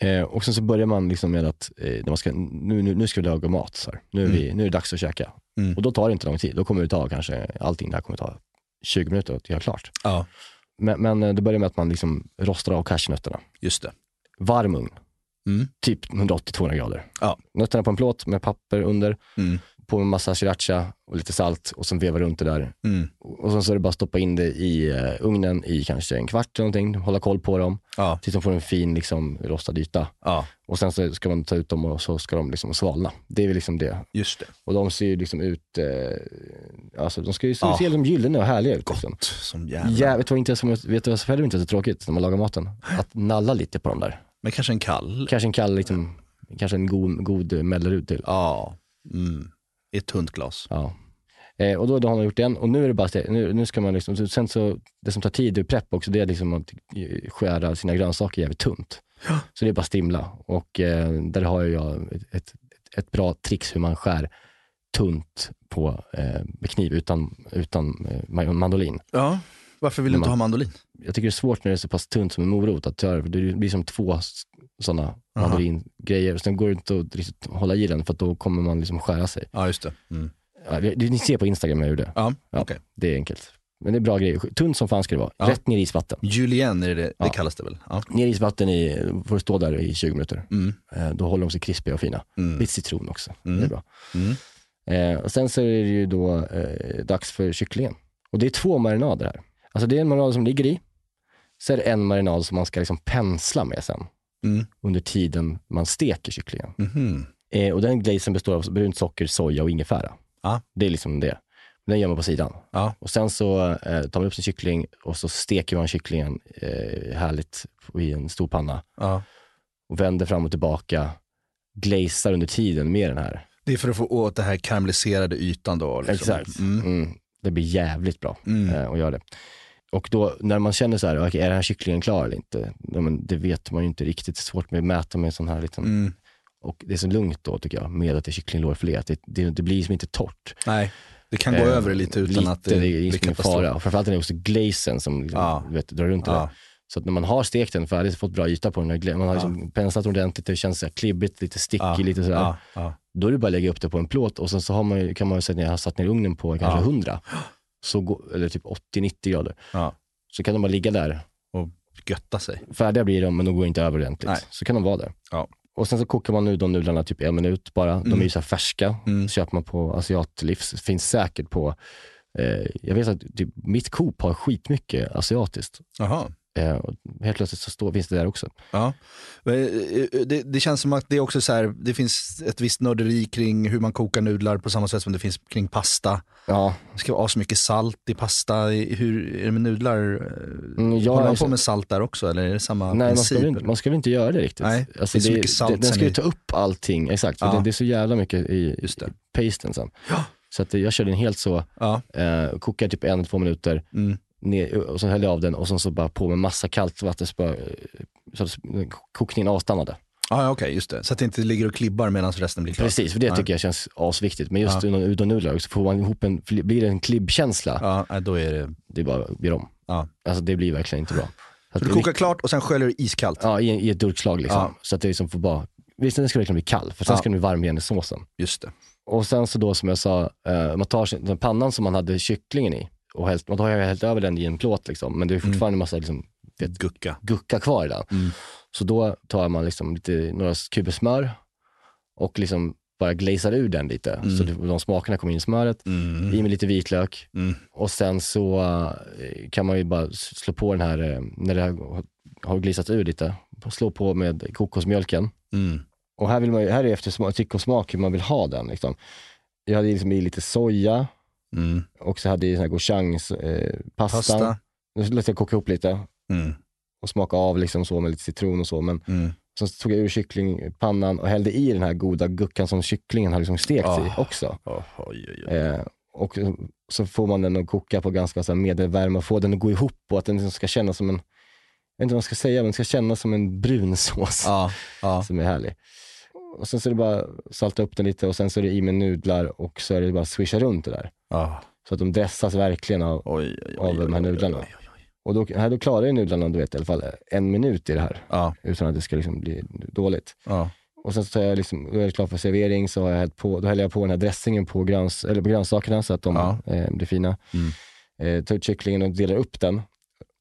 D: Eh, och sen så börjar man liksom med att eh, när man ska, nu, nu, nu ska vi laga mat. Så här. Nu, är vi, nu är det dags att käka.
G: Mm.
D: Och då tar det inte lång tid. Då kommer det ta kanske, allting där kommer ta 20 minuter att göra klart.
G: Ja,
D: Men, men eh, det börjar med att man liksom rostar av cashewnötterna.
G: just det.
D: Varm ugn,
G: Mm.
D: typ 180-200 grader.
G: Ja.
D: Nötterna på en plåt med papper under,
G: Mm.
D: på en massa sriracha och lite salt och sen vevar runt det där
G: Mm.
D: och sen så är det bara att stoppa in det i eh, ugnen i kanske en kvart eller någonting, hålla koll på dem
G: Ja,
D: tills de får en fin liksom, rostad yta.
G: ja,
D: Och sen så ska man ta ut dem och så ska de liksom svalna. Det är väl liksom det.
G: just det.
D: Och de ser ju liksom ut, eh, alltså de ska ju se,
G: Ja.
D: se liksom gyllene och härliga ut. Liksom.
G: Gott som jävla.
D: Jävligt vad inte är som, vet du vad som heller inte är så tråkigt när man lagar maten? Att nalla lite på dem där.
G: Men kanske en kall.
D: Kanske en kall, liksom, kanske en god, god Mellerud till.
G: Ja. Mm. I ett tunt glas.
D: Ja. Eh, och då, då har man gjort den och nu är det bara ste- nu, nu ska man liksom, så- sen så, det som tar tid ur prepp också, det är liksom att eh, skära sina grönsaker jävligt tunt. Så det är bara strimla. Och eh, där har ju jag ett, ett, ett bra trix hur man skär tunt på eh, med kniv utan, utan eh, ma- mandolin.
G: Ja. Varför vill du inte
D: Man-
G: ha mandolin?
D: Jag tycker det är svårt när det är så pass tunt som en morot att göra, för det blir som två sådana mandolingrejer. Sen går det inte att riktigt hålla i den för att då kommer man liksom skära sig.
G: Ja, just det. Mm.
D: Ja, det- ni ser på Instagram hur jag gjorde.
G: Ja,
D: Ja,
G: okej.
D: Det är enkelt. Men det är bra grejer. Tunt som fan ska det vara.
G: Ja.
D: Rätt ner i isvatten.
G: Julienne är det, det
D: Ja.
G: kallas det väl? Ja.
D: Ner i isvatten i, får det stå där i 20 minuter.
G: Mm.
D: Eh, då håller de sig krispiga och fina.
G: Mm.
D: Lite citron också.
G: Mm.
D: Det är bra.
G: Mm.
D: Eh, och sen så är det ju då eh, dags för kycklingen. Och det är två marinader här. Alltså det är en marinad som ligger i. Så är det en marinad som man ska liksom pensla med sen.
G: Mm.
D: Under tiden man steker kycklingen.
G: Mhm.
D: Eh, och den glazen består av brunt socker, soja och ingefära.
G: Ja.
D: Det är liksom det. Men den gör man på sidan.
G: Ja.
D: Och sen så eh, tar man upp sin kyckling och så steker man kycklingen eh, härligt i en stor panna
G: Ja.
D: och vänder fram och tillbaka. Glazar under tiden med den här.
G: Det är för att få åt det här karamelliserade ytan då. Liksom.
D: Exakt.
G: Mm.
D: Mm. Det blir jävligt bra
G: Mm.
D: eh, att göra det. Och då när man känner så här, okej, är den här kycklingen klar eller inte? Ja, men det vet man ju inte riktigt. Det är svårt med att mäta med en sån här liksom- liten...
G: Mm.
D: Och det är så lugnt då tycker jag, med att det är kycklinglårfilé. att Det, det, det blir liksom inte torrt.
G: Nej, det kan gå
D: Eh,
G: över lite utan att det,
D: är
G: blir
D: liksom ingen
G: katastrof.
D: fara. Och framförallt är det också glazen som liksom,
G: Ja.
D: du vet, drar runt det
G: Ja.
D: där. Så att när man har stekt den färdigt, fått bra yta på den, där gla- man har liksom penslat ordentligt, det känns så här klibbigt, lite stickigt,
G: Ja.
D: lite sådär.
G: Ja, ja.
D: Då är det bara att lägga upp det på en plåt och sen så har man, ju- kan man ju säga att jag har satt ner ugnen på kanske
G: Ja.
D: 100, så går, eller typ 80-90 grader.
G: Ja.
D: Så kan de bara ligga där.
G: Och götta sig.
D: Färdiga blir de, men de går inte över ordentligt.
G: Nej.
D: Så kan de vara där.
G: Ja.
D: Och sen så kokar man nu de nudlarna typ en minut bara. De är ju så här färska.
G: Mm.
D: Köper man på asiatlivs. Finns säkert på, eh, jag vet att typ, mitt Coop har skitmycket asiatiskt.
G: Jaha.
D: Eh, och helt plötsligt så står, finns det där också.
G: Ja. Men, eh, eh, Det, det känns som att det är också så här, det finns ett visst nörderi kring hur man kokar nudlar på samma sätt som det finns kring pasta.
D: Ja,
G: Det ska vara så mycket salt i pasta. I- Hur är det med nudlar? Eh,
D: Mm, jag
G: Håller
D: är
G: man
D: så-
G: på med salt där också eller är det samma
D: Nej, man ska,
G: princip?
D: väl inte, man ska väl inte göra det riktigt.
G: Nej,
D: alltså,
G: det är så mycket salt
D: den- Den ska
G: sen
D: ju
G: i-
D: ta upp allting, exakt. För
G: Ja.
D: Det, det är så jävla mycket i,
G: Just det.
D: i pasten sen. Så att jag körde den helt så,
G: Ja.
D: eh, kokade typ en eller två minuter,
G: Mm.
D: ner, och sen höll jag av den och sen så bara på med massa kallt vatten så, bara, eh, så att kokningen avstannade.
G: Ah, ja, okej, just det. Så att det inte ligger och klibbar medan resten blir klart.
D: Precis, för det
G: Ja.
D: tycker jag känns asviktigt. Men just
G: Ja.
D: ja. udonnudlar också, får man ihop en, blir det en klibbkänsla,
G: Ja, nej, då är det...
D: det bara blir om.
G: Ja.
D: Alltså det blir verkligen inte bra. Så att
G: Så
D: det
G: du
D: är
G: kokar klart och sen sköljer du iskallt?
D: Ja, i, i ett durkslag liksom.
G: Ja.
D: Så att det liksom får bara, visst den ska verkligen bli kall, för sen
G: Ja.
D: ska den bli varm igen i såsen.
G: Just det.
D: Och sen så då som jag sa, eh, man tar sin- den pannan som man hade kycklingen i, och hällt, man har ju hällt över den i en plåt liksom, men det är
G: Mm.
D: fortfarande en massa liksom, vet,
G: Gucka.
D: gucka kvar i den.
G: Mm.
D: Så då tar man liksom lite, några kuber smör och liksom bara glazar ur den lite, så det- de smakerna kommer in i smöret. I med lite vitlök
G: Mm.
D: och sen så eh, kan man ju bara s- slå på den här, eh, när det har- har glazat ur lite, slå på med kokosmjölken.
G: Mm.
D: Och här, vill man ju, här är efter smak, tycke och smak hur man vill ha den. Liksom. Jag hade liksom i lite soja
G: Mm.
D: och så hade jag i sån här gochujang-pasta. Eh,
G: Pasta.
D: pasta. nu lät jag koka ihop lite
G: Mm.
D: och smaka av liksom så med lite citron och så. Men
G: Mm.
D: sen så tog jag ur kycklingpannan och hällde i den här goda guckan som kycklingen har liksom stekt
G: Ah.
D: i också.
G: Oh, oj, oj, oj.
D: Eh, och så får man den att koka på ganska så här medelvärme och få den att gå ihop och att den liksom ska kännas som en, jag vet inte vad man ska säga, men den ska kännas som en brun sås
G: Ja, ja.
D: som är härlig. Och sen så är det bara salta upp den lite och sen så är det i med nudlar och så är det bara swisha runt det där.
G: ja.
D: Så att de dressas verkligen av,
G: Oj, oj, oj.
D: av de här nudlarna.
G: oj,
D: Och då, här då klarar ju nudlarna du vet, i alla fall eh, en minut i det här
G: Ja,
D: utan att det ska liksom bli dåligt.
G: ja.
D: Och sen så tar jag liksom, då är det klart för servering, så har jag hällt på, då häller jag på den här dressingen på, gröns, eller på grönsakerna så att de
G: Ja.
D: eh, blir fina.
G: Mm.
D: Eh, tar ut kycklingen och delar upp den.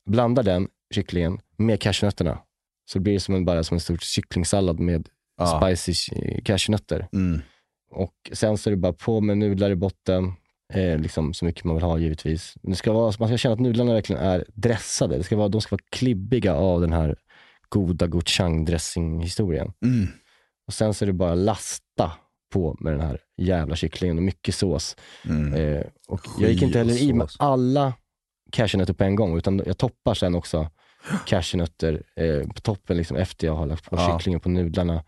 D: Blandar den, kycklingen, med cashewnötterna. Så det blir som en, bara som en stor kycklingsallad med
G: Ja.
D: spicy eh, cashewnötter.
G: Mm.
D: Och sen så är det bara på med nudlar i botten, eh, liksom så mycket man vill ha givetvis. Men det ska vara, man ska känna att nudlarna verkligen är dressade. Det ska vara, de ska vara klibbiga av den här goda gochujang-dressing-historien.
G: Mm.
D: Och sen så är det bara lasta på med den här jävla kycklingen och mycket sås.
G: Mm.
D: Eh, och jag gick inte heller i med
G: Skivsås.
D: alla cashewnötter på en gång, utan jag toppar sen också cashewnötter eh, på toppen liksom, efter jag har lagt på
G: Ja.
D: kycklingen på nudlarna.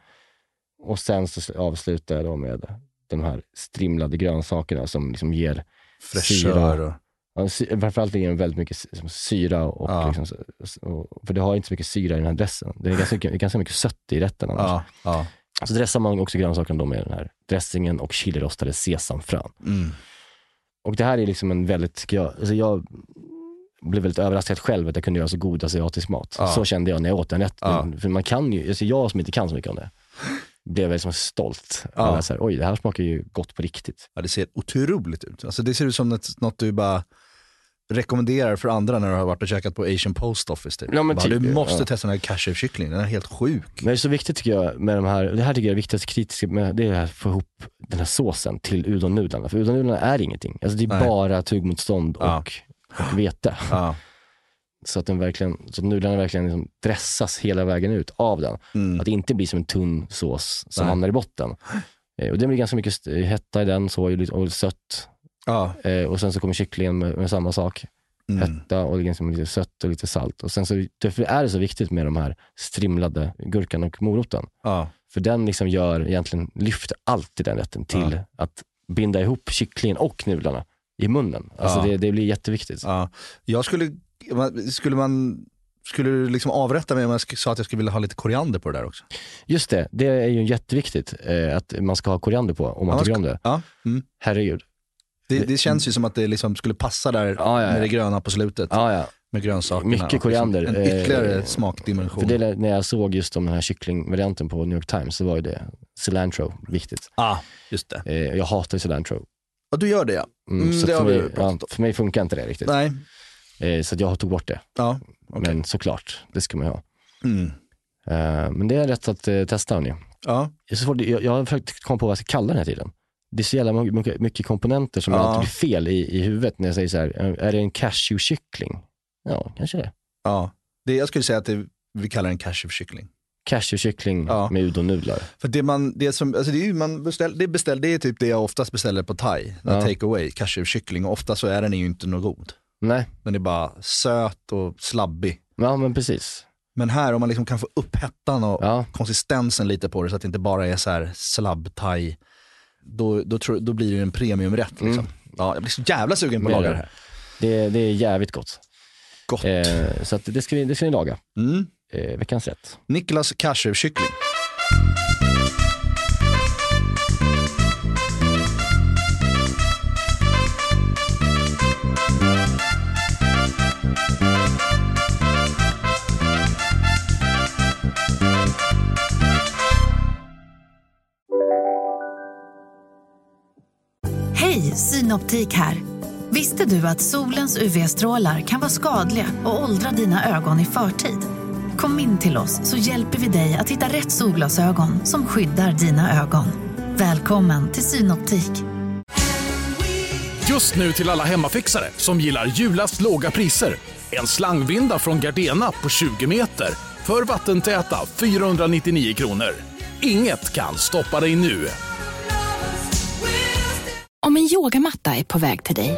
D: Och sen så sl- avslutar jag då med de här strimlade grönsakerna som liksom ger,
G: Fräschör och...
D: ja, sy- framförallt ger den väldigt mycket sy- som syra. Och
G: Ja.
D: liksom, s- och, för det har inte så mycket syra i den här dressen. Det är ganska, mycket- ganska mycket sött i rätten annars.
G: Ja, ja.
D: Så dressar man också grönsakerna då med den här dressingen och chilirostade sesamfrön.
G: Mm.
D: Och det här är liksom en väldigt, tycker jag, alltså jag blev väldigt överraskad själv att jag kunde göra så god asiatisk mat.
G: Ja.
D: Så kände jag när jag åt den rätten.
G: Ja.
D: För man kan ju, alltså jag som inte kan så mycket om det, blev liksom stolt.
G: Ja.
D: Ja. Så här, Oj, det här smakar ju gott på riktigt.
G: Ja, det ser otroligt ut. Alltså, det ser ut som något, något du bara rekommenderar för andra när du har varit och käkat på Asian Post Office. Typ.
D: Ja, men
G: bara,
D: typ,
G: du måste
D: ja.
G: testa den här cashew-kycklingen, den är helt sjuk.
D: Men det är så viktigt tycker jag med de här, det här tycker jag är viktigast kritiska, med, det är att få ihop den här såsen till udonnudlarna. För udonnudlarna är ingenting. Alltså det är
G: Nej.
D: bara tuggmotstånd och,
G: Ja.
D: och vete.
G: Ja.
D: så att, den verkligen, så att nudlarna verkligen liksom dressas hela vägen ut av den.
G: Mm.
D: Att det inte blir som en tunn sås som
G: Nej.
D: hamnar i botten. Eh, Och det blir ganska mycket st- hetta i den, så och lite- och sött.
G: Ja.
D: Eh, och sen så kommer kycklingen med, med samma sak.
G: Mm.
D: Hetta och liksom lite sött och lite salt. Och sen så, därför är det så viktigt med de här strimlade gurkan och moroten.
G: Ja.
D: För den liksom gör egentligen, lyfter alltid den rätten till att binda ihop kycklingen och nudlarna i munnen. Alltså
G: Ja.
D: det, det blir jätteviktigt.
G: Ja. Jag skulle man- Skulle man skulle du liksom avrätta mig om jag sk- sa att jag skulle vilja ha lite koriander på det där också?
D: Just det, det är ju jätteviktigt eh, att man ska ha koriander på om man
G: Ja,
D: tycker
G: man
D: om det.
G: Ja. Mm.
D: Herregud.
G: Det, det känns ju som att det liksom skulle passa där
D: Mm. Ja, ja, ja.
G: med det gröna på slutet.
D: Ja, ja.
G: Med grönsakerna.
D: Mycket
G: och liksom
D: koriander.
G: En ytterligare
D: Eh,
G: smakdimension.
D: För det, är när jag såg just om den här kycklingvarianten på New York Times så var ju det cilantro viktigt.
G: ah, just det.
D: Eh, jag hatar ju cilantro.
G: Ja, du gör det ja.
D: Mm,
G: Mm,
D: så
G: det
D: för,
G: har vi
D: mig,
G: ju
D: ja,
G: pratat
D: för mig funkar inte det riktigt.
G: Nej.
D: Eh, så att jag tog bort det.
G: Ja. okej.
D: Men såklart, det ska man ju ha.
G: Mm.
D: Eh, men det är rätt att eh, testa hörni.
G: Ja.
D: Det är så svårt, jag, jag har försökt komma på vad jag ska kalla den här tiden. Det är så jävla my- mycket, mycket komponenter som
G: Ja.
D: alltid blir fel i, i huvudet när jag säger så här, eh, är det en cashewkyckling? Ja, kanske det.
G: ja. Det, jag skulle säga att det, vi kallar den cashewkyckling.
D: Cashewkyckling
G: Ja.
D: med udonnudlar.
G: För det man, det som, alltså det är ju, man beställ, det beställ, det är typ det jag oftast beställer på thai. Ja.
D: Ja.
G: Take away, cashewkyckling. Och ofta så är den ju inte något god.
D: Nej,
G: Den är bara söt och slabbig.
D: ja men precis.
G: Men här om man liksom kan få upp hettan och
D: Ja.
G: konsistensen lite på det så att det inte bara är så här slabb thai. Då, då, tror- då blir det en premiumrätt liksom. Ja, jag blir så jävla sugen på att
D: Mm. Mer
G: laga
D: det.
G: det här.
D: Det, det är jävligt gott.
G: Gott.
D: Eh, så att det, ska vi, det ska ni laga.
G: Mm.
D: Eh, veckans rätt.
G: Niklas cashewkyckling.
I: Hej, Synoptik här. Visste du att solens UV-strålar kan vara skadliga och åldra dina ögon i förtid? Kom in till oss så hjälper vi dig att hitta rätt solglasögon som skyddar dina ögon. Välkommen till Synoptik.
A: Just nu till alla hemmafixare som gillar julast låga priser. En slangvinda från Gardena på 20 meter för vattentäta 499 kronor. Inget kan stoppa dig nu.
B: Om en yogamatta är på väg till dig,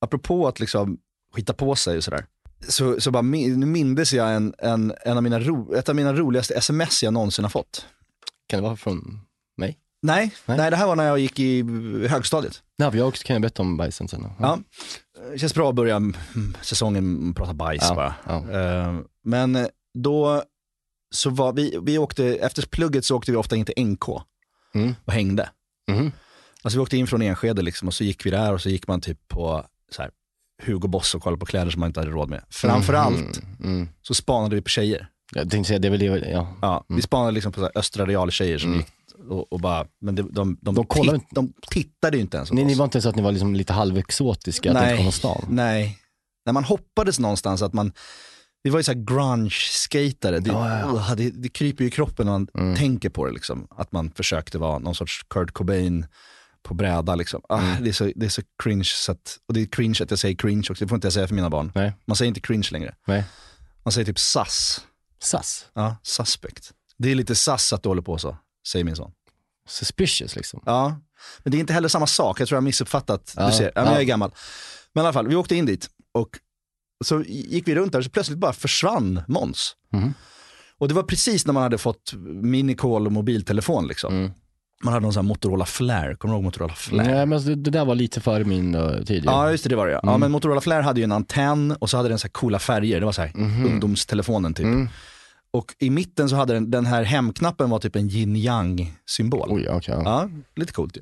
G: apropå att liksom skita på sig och sådär, så, så bara min, nu mindes jag en, en, en av mina ro, ett av mina roligaste sms jag någonsin har fått.
D: Kan det vara från mig?
G: Nej, nej.
D: Nej.
G: det här var när jag gick i högstadiet.
D: Nej, för jag också kan jag berätta om bajsen sen.
G: Ja. Det känns bra att börja mm, säsongen med att prata bajs
D: Ja,
G: bara.
D: ja.
G: Eh, Men då så var vi, vi åkte, efter plugget så åkte vi ofta in till NK
D: Mm.
G: och hängde.
D: Mhm.
G: Alltså vi åkte in från Enskede liksom, och så gick vi där och så gick man typ på så här, Hugo Boss och kollade på kläder som man inte hade råd med. Framförallt
D: Mm. Mm.
G: så spanade vi på tjejer.
D: Jag tänkte säga, det är väl det, ja.
G: Ja, Vi spanade liksom på så här östra realtjejer som
D: Mm.
G: gick och, och bara, men de, de, de,
D: De kollade
G: tit-
D: inte.
G: de tittade ju inte ens åt
D: Ni,
G: oss.
D: ni var inte så att ni var liksom lite halvexotiska, att ni
G: Nej.
D: inte kom från stan?
G: Nej. När man hoppades någonstans att man, vi var ju så här grunge-skatare. Det,
D: Ja, ja.
G: Ugh, det, det kryper ju i kroppen när man
D: Mm.
G: tänker på det. Liksom. Att man försökte vara någon sorts Kurt Cobain på bräda. Liksom. Ah,
D: Mm.
G: det, är så, det är så cringe, så att, och det är cringe att jag säger cringe också. Det får inte jag säga för mina barn.
D: Nej.
G: Man säger inte cringe längre.
D: Nej.
G: Man säger typ sass.
D: SAS?
G: Ja, suspect. Det är lite sass att du håller på så, säger min son.
D: Suspicious liksom?
G: Ja, men det är inte heller samma sak. Jag tror jag har missuppfattat.
D: Ja,
G: Du ser, ja, men jag är
D: ja.
G: gammal. Men i alla fall, vi åkte in dit och så gick vi runt där och så plötsligt bara försvann Måns.
D: Mhm.
G: Och det var precis när man hade fått minikol och mobiltelefon. Liksom.
D: Mm.
G: Man hade någon sån här Motorola Flare, kommer du ihåg Motorola Flare?
D: Nej, men alltså, det, det där var lite före min uh, tid. ju.
G: Ja, just det, det var det ja. ja. Men Motorola Flare hade ju en antenn och så hade den så här coola färger. Det var så här ungdomstelefonen typ.
D: Mm.
G: Och i mitten så hade den, den här hemknappen var typ en yin-yang-symbol.
D: Oj, Mm. okej. ja.
G: Ja, lite coolt ju.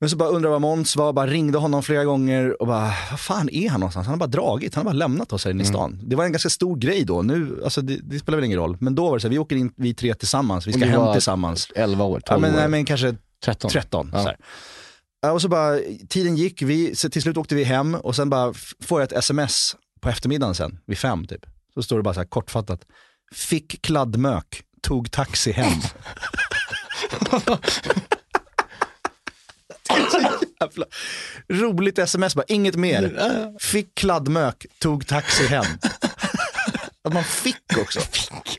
G: Men så bara undrade vad Måns var, bara ringde honom flera gånger och bara, vad fan är han någonstans? Han har bara dragit, han har bara lämnat oss här
D: Mm.
G: inne i stan. Det var en ganska stor grej då, nu, alltså det, det spelar väl ingen roll. Men då var det så här, vi åker in, vi tre tillsammans, vi ska
D: Vi
G: hem
D: var
G: tillsammans.
D: 11 år, 12
G: Ja, men,
D: år,
G: nej, men kanske
D: 13.
G: 13.
D: Ja.
G: Så här. Ja, och så bara, tiden gick, vi, så till slut åkte vi hem och sen bara f- får jag ett sms på eftermiddagen sen, vid fem typ. Så står det bara så här kortfattat, fick kladdmök, tog taxi hem. jävla roligt sms bara, inget mer. Fick kladdmök, tog taxi hem. Att man fick också.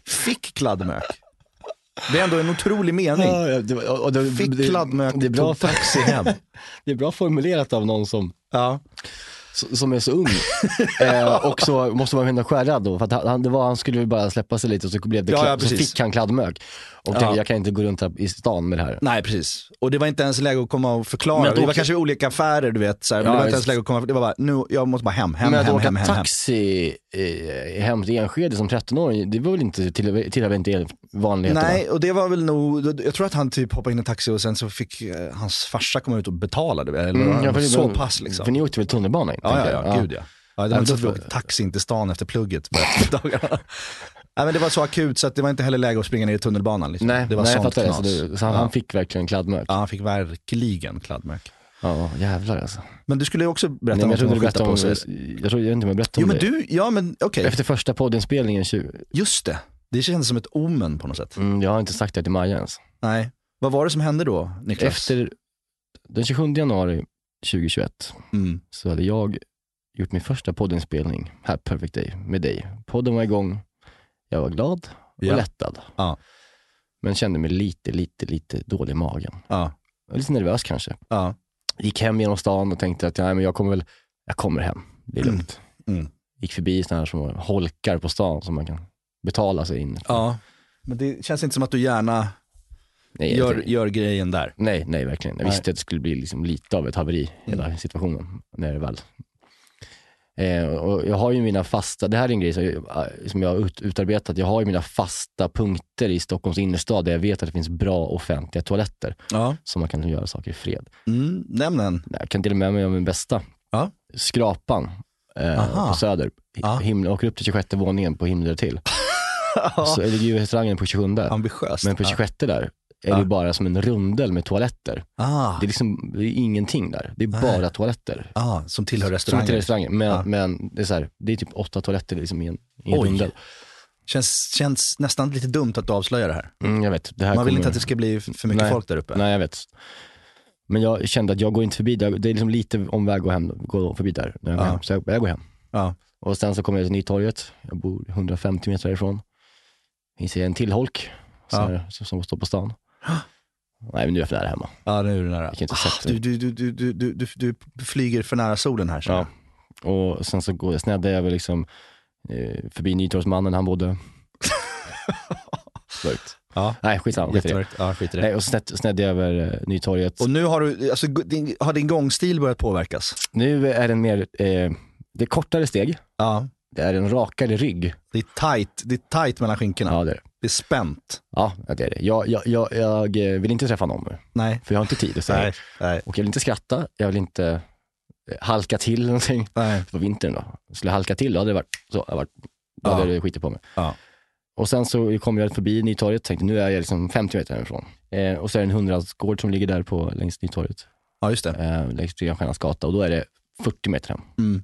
G: Fick, kladdmök. Det är ändå en otrolig mening.
D: Ja, ja, det, och, och det,
G: Fick
D: det-
G: kladdmök,
D: det är bra,
G: tog taxi hem.
D: det är bra formulerat av någon som,
G: Ja.
D: s- som är så ung. eh, och så måste man ändå skärrad då, för att han, det var, han skulle väl bara släppa sig lite och så, blev det
G: Ja,
D: kladd,
G: ja,
D: så
G: precis.
D: fick han kladdmök. Och tänkte, jag kan inte gå runt här i stan med det här.
G: Nej, precis. Och det var inte ens läge att komma och förklara.
D: Men att
G: det var
D: åka-
G: kanske olika affärer, du vet. Så här, men
D: Ja,
G: det var inte ens
D: visst.
G: läge att komma. Det var bara, nu, jag måste bara hem, hem,
D: men att
G: hem,
D: åka
G: hem, hem, hem.
D: taxi eh, hem till Enskede som 13-åring, det var väl inte, till- tillhör väl inte vanligheterna?
G: Nej, och det var väl nog, jag tror att han typ hoppade in i en taxi och sen så fick eh, hans farsa komma ut och betala. Du vet, eller
D: Mm, ja, för det-
G: så pass liksom.
D: För ni åkte väl tunnelbana?
G: Ja, ja,
D: tänker
G: ja,
D: jag.
G: gud ja. ja
D: Ja,
G: det var inte så
D: då
G: att vi
D: får-
G: åkte taxi in till stan efter plugget. på dagarna. Nej, men det var så akut så att det var inte heller läge att springa ner i tunnelbanan. Liksom.
D: Nej,
G: det var
D: nej jag
G: sånt
D: fattar det.
G: knas.
D: Så, det, så han,
G: ja.
D: han fick verkligen kladdmök.
G: ja,
D: Ja,
G: han fick verkligen kladdmärk.
D: jävlar alltså.
G: Men du skulle ju också berätta
D: Nej, men jag
G: något om
D: trodde
G: att
D: du
G: skita
D: berättade om,
G: på sig.
D: jag, jag tror jag inte om jag berättade
G: Jo
D: om
G: men
D: det.
G: du, ja men okej,
D: Efter första poddinspelningen, 20,
G: just det. Det kändes som ett omen på något sätt.
D: mm, jag har inte sagt det till Maja ens.
G: Nej. Vad var det som hände då, Niklas?
D: Efter den 27 januari 2021
G: Mm.
D: så hade jag gjort min första poddinspelning, här Perfect Day, med dig. Podden var igång, jag var glad och
G: Ja.
D: lättad.
G: Ja.
D: Men kände mig lite, lite, lite dålig i magen.
G: Ja.
D: Jag var Lite nervös kanske.
G: Ja.
D: Gick hem genom stan och tänkte att nej, men jag kommer väl, jag kommer hem. Det är lugnt.
G: Mm.
D: Gick förbi sådana här som holkar på stan som man kan betala sig in.
G: ja. Men det känns inte som att du gärna
D: Nej,
G: gör,
D: jag-
G: gör grejen där.
D: nej, nej verkligen. Jag
G: Nej. Mm.
D: visste att det skulle bli liksom lite av ett haveri, hela situationen, när det väl. Eh, och jag har ju mina fasta, det här är en grej som jag, eh, som jag har ut, utarbetat, jag har ju mina fasta punkter i Stockholms innerstad där jag vet att det finns bra offentliga toaletter
G: Ja.
D: som man kan liksom göra saker i fred.
G: Mm. Nämn en.
D: Nej, Jag kan dela med mig av min bästa.
G: Ja.
D: Skrapan eh,
G: Aha.
D: på Söder.
G: Ja.
D: Ja. Himla, åker upp till 26 våningen på himlen till. Så ligger ju restaurangen på 27.
G: Ambitiöst.
D: Men på
G: Ja.
D: 26 där är
G: Ja.
D: det bara som en rundel med toaletter.
G: Ah.
D: Det är liksom det är ingenting där. Det är bara toaletter.
G: Ah, som tillhör
D: Som
G: restaurangen.
D: till restaurangen. Men,
G: Ja.
D: men det, är så här, det är typ åtta toaletter liksom i en, i en
G: Oj.
D: rundel.
G: Känns, känns nästan lite dumt att du avslöjar det här.
D: Mm, jag vet. Det här
G: Man vill
D: kommer-
G: inte att det ska bli för mycket
D: Nej.
G: folk där uppe.
D: Nej, jag vet. Men jag kände att jag går inte förbi där. Det är liksom lite omväg att hem, gå förbi där. När jag går
G: Ja.
D: hem. Så jag, jag går hem.
G: Ja.
D: Och sen så kommer jag till Nytorget, jag bor 150 meter därifrån. Finns det en till holk så
G: Ja.
D: här, som- som står på stan. Nej men nu är jag för nära hemma.
G: ja, nu är du nära.
D: Jag kan inte
G: Ah,
D: sätta
G: du,
D: mig.
G: du, du, du, du, du, du, du flyger för nära solen här.
D: Ja.
G: Ja.
D: Och sen så går jag, sneddar jag väl liksom eh, förbi Nytorgsmannen han bodde. Mörkt.
G: Ja.
D: Nej skitsamma, skit i det.
G: Jättemörkt. Ja, skit i det.
D: Nej, och snett, snedde jag över eh, Nytorget.
G: Och nu har, du, alltså, din, har din gångstil börjat påverkas?
D: nu är den mer, eh, det är kortare steg,
G: Ja.
D: det är en rakare rygg.
G: Det är tight, det är tight mellan skinkorna.
D: Ja det är det.
G: Det är spänt.
D: Ja, det är det. Jag, jag, jag, jag eh, vill inte träffa någon nu,
G: Nej.
D: för jag har inte tid. Så
G: Nej. Nej.
D: Och jag vill inte skratta, jag vill inte eh, halka till någonting.
G: Nej.
D: Det var vintern då. Skulle jag halka till då hade det varit så. Jag varit, då hade
G: Ja.
D: det skitit på mig.
G: Ja.
D: Och sen så kom jag förbi Nytorget och tänkte nu är jag liksom 50 meter härifrån. Eh, och så är det en hundradsgård som ligger där på längs Nytorget,
G: Ja, just det.
D: eh, längs Brygganstiernas gata och då är det 40 meter hem.
G: Mm.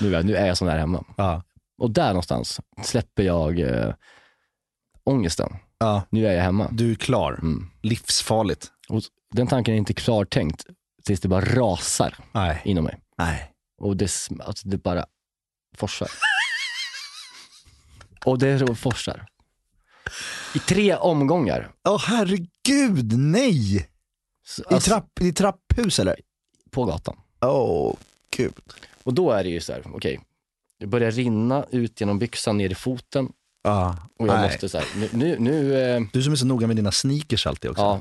D: Nu är, nu är jag så nära hemma.
G: Ja.
D: Och där någonstans släpper jag eh, ångesten.
G: Ja.
D: Nu är jag hemma.
G: Du är klar.
D: Mm.
G: Livsfarligt.
D: Och den tanken är inte klartänkt tills det bara rasar
G: Nej.
D: inom mig.
G: Nej.
D: Och det, sm- alltså det bara forsar. och det rå- forsar. I tre omgångar.
G: Åh herregud, nej! I,
D: Så- alltså,
G: trapp, I trapphus eller?
D: På gatan.
G: Åh, gud.
D: Och då är det ju så här, okej. Det börjar rinna ut genom byxan ner i foten.
G: Ja.
D: Och jag
G: Nej.
D: måste så här, nu, nu, nu eh,
G: Du som är så noga med dina sneakers alltid också.
D: ja.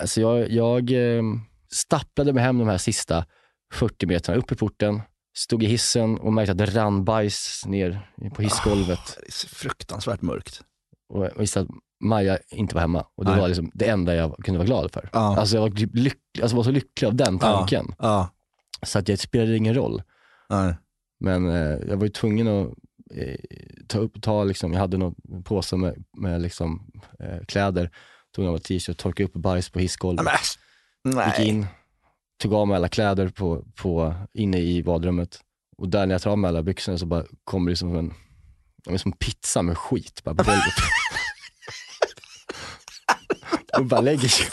D: Alltså jag, jag eh, stapplade mig hem de här sista 40 metrarna upp i porten. Stod i hissen och märkte att det rann bajs ner på hissgolvet.
G: Det är så fruktansvärt mörkt.
D: och jag visste att Maja inte var hemma. Och det
G: Nej.
D: var liksom det enda jag kunde vara glad för.
G: Ja.
D: Alltså jag var, typ lyck- alltså var så lycklig av den tanken.
G: Ja.
D: Så att det spelade ingen roll.
G: Nej.
D: Men eh, jag var ju tvungen att eh, ta upp, ta liksom, jag hade någon påse med, med liksom, eh, kläder, tog av mig t-shirt, torkade upp bajs på hissgolvet,
G: Men,
D: gick
G: nej.
D: in, tog av mig alla kläder på, på, inne i badrummet. Och där när jag tar av mig alla byxorna så bara kommer det som en, ja, men som pizza med skit bara på golvet. och bara lägger sig.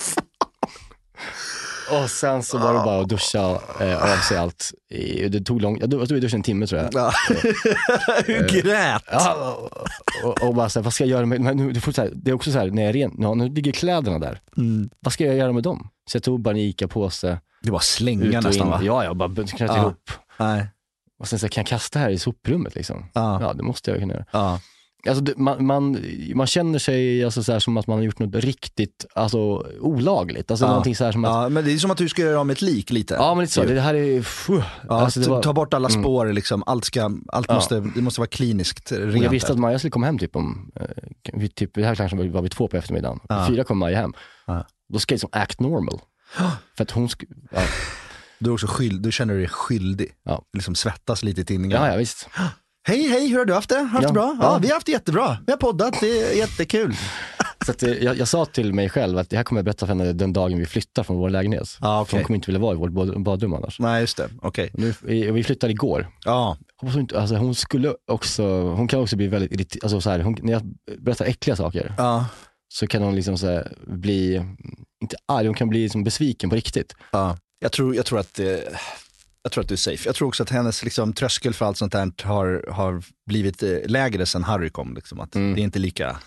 D: Och sen så var det bara att duscha eh, av sig allt. I- Det tog lång, jag du- jag stod i duschen en timme tror jag.
G: Ja. Hur grät?
D: Ja, och, och bara såhär, vad ska jag göra med, men nu, det, får så här, det är också såhär, när jag är ren, ja, nu ligger kläderna där. Vad ska jag göra med dem? Så jag tog bara en ICA-påse,
G: Mm. Det var
D: ut
G: slänga
D: och in.
G: nästan va?
D: Ja, jag bara knöt
G: Ja.
D: ihop.
G: Nej.
D: Och sen så här, kan jag kasta här i soprummet liksom?
G: Ja.
D: Ja, det måste jag kunna göra.
G: Ja.
D: Alltså, det, man, man, man känner sig alltså, så här, som att man har gjort något riktigt alltså, olagligt. Alltså
G: Ja.
D: någonting så här som att, ja,
G: ja, men det är som att du ska göra av med ett lik lite.
D: men lite så, det här är, fuh.
G: Ja,
D: Alltså, det
G: t-
D: var-
G: Ta bort alla spår, liksom. allt, ska, allt
D: Ja.
G: måste, det måste vara kliniskt
D: Och
G: rent.
D: jag visste att Maja skulle komma hem typ om, eh, vi, typ, det här kanske var vi två på eftermiddagen.
G: Ja.
D: Fyra kom Maja hem.
G: Ja.
D: Då ska jag liksom act normal. För att hon sk- ja.
G: Du, är också skyld, du känner dig skyldig.
D: Ja.
G: Liksom svettas lite i
D: ja,
G: tidningarna.
D: ja visst.
G: Hej, hej, hur har du haft det? Har du haft
D: Ja.
G: det bra? Ja,
D: Ja.
G: vi har haft det jättebra. Vi har poddat, det är jättekul.
D: Så att, eh, jag, jag sa till mig själv att det här kommer jag berätta för henne den dagen vi flyttar från vår lägenhet.
G: Ja,
D: För
G: Ah, okej.
D: hon kommer inte vilja vara i vårt bad- badrum annars.
G: Nej, just det. Okej.
D: Nu, eh, vi flyttade igår.
G: Ja.
D: Hoppas hon, inte, alltså hon, skulle också, hon kan också bli väldigt irriterad. Alltså så här, hon, när jag berättar äckliga saker
G: Ja.
D: så kan hon liksom så här, bli, inte arg, hon kan bli liksom besviken på riktigt.
G: ja. Jag, tror, jag, tror att, eh, jag tror att du är safe. Jag tror också att hennes liksom, tröskel för allt sånt här har, har blivit eh, lägre sen Harry kom. Liksom. Att
D: Mm.
G: Det är inte lika...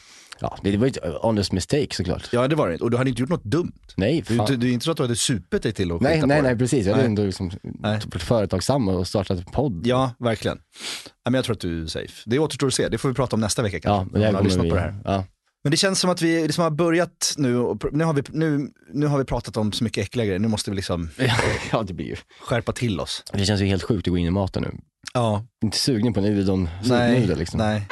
D: Ja, det var ju ett honest mistake såklart.
G: Ja, det var det inte. Och du hade inte gjort något dumt.
D: Nej,
G: Du,
D: fan.
G: du, det är inte så att du hade supit dig till att
D: Nej,
G: skita
D: nej,
G: på det.
D: nej, precis. Jag hade
G: Nej.
D: ändå liksom
G: Nej.
D: varit företagsam och startat en podd.
G: Ja, verkligen. Ja, men jag tror att du är safe. Det återstår att se. Det får vi prata om nästa vecka
D: men
G: kanske.
D: det
G: om
D: här
G: man har
D: kommer
G: lyssnat
D: vi-
G: på det här.
D: Ja.
G: Men det känns som att vi liksom har börjat nu. Och, pr- nu, har vi, nu, nu har vi pratat om så mycket äckliga grejer. Nu måste vi liksom
D: ja, det blir ju.
G: skärpa till oss.
D: Det känns ju helt sjukt att gå in i maten nu.
G: Ja,
D: Inte sugen på en
G: nej.
D: udon-nudel liksom.
G: nej.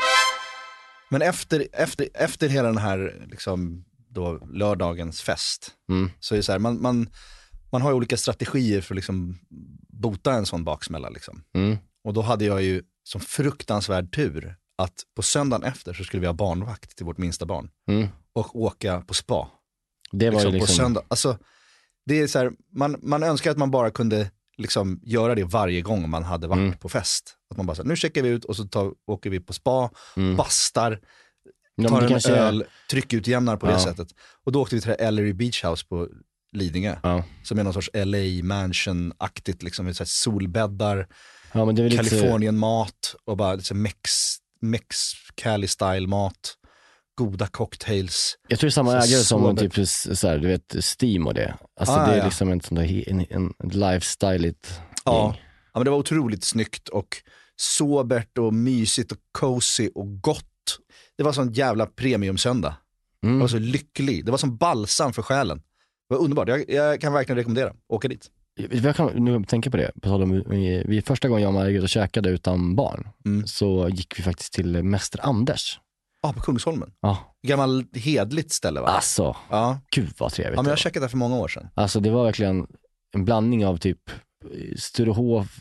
G: Men efter, efter, efter hela den här liksom, då, lördagens fest,
D: Mm.
G: så är det så här, man, man, man har ju olika strategier för att liksom, bota en sån baksmälla. Liksom.
D: Mm.
G: Och då hade jag ju som fruktansvärd tur att på söndagen efter så skulle vi ha barnvakt till vårt minsta barn
D: Mm.
G: och åka på spa.
D: Det var
G: liksom,
D: ju
G: På
D: liksom,
G: söndag. Alltså, det är så här, man, man önskar att man bara kunde liksom göra det varje gång man hade varit
D: Mm.
G: på fest. Att man bara så här, nu checkar vi ut och så tar, åker vi på spa,
D: Mm.
G: bastar,
D: Ja, men
G: tar
D: det
G: en
D: kanske är-
G: öl, tryckutjämnar på det
D: Ja.
G: sättet. Och då åkte vi till det här Ellery Beach House på Lidingö.
D: Ja.
G: Som är någon sorts LA mansion-aktigt, liksom, med så här solbäddar,
D: Ja, men det är väl lite...
G: Kalifornien-mat och bara liksom mex, mex Cali style-mat, goda cocktails.
D: Jag tror det är samma
G: Så
D: ägare som
G: svårt.
D: typ så här, du vet, Steam och det. Alltså
G: Ah,
D: det är
G: ja.
D: liksom en sån där, he- en, en, en lifestyle-igt
G: Ja.
D: gäng.
G: ja, men det var otroligt snyggt och sobert och mysigt och cozy och gott. Det var sån jävla premiumsöndag. Jag
D: Mm.
G: var så lycklig. Det var som balsam för själen. Det var underbart. Jag, jag kan verkligen rekommendera. Åka dit.
D: Jag kan nu tänka på det, på tal om, eh, vi, första gången jag och Maja gick ut och käkade utan barn,
G: Mm.
D: så gick vi faktiskt till Mäster Anders.
G: Ja, på Kungsholmen.
D: Ja.
G: Gammal hedligt ställe va?
D: Alltså,
G: Ja.
D: gud vad trevligt
G: ja, men
D: det var.
G: jag har checkat där för många år sedan.
D: Alltså det var verkligen en blandning av typ Sturehof,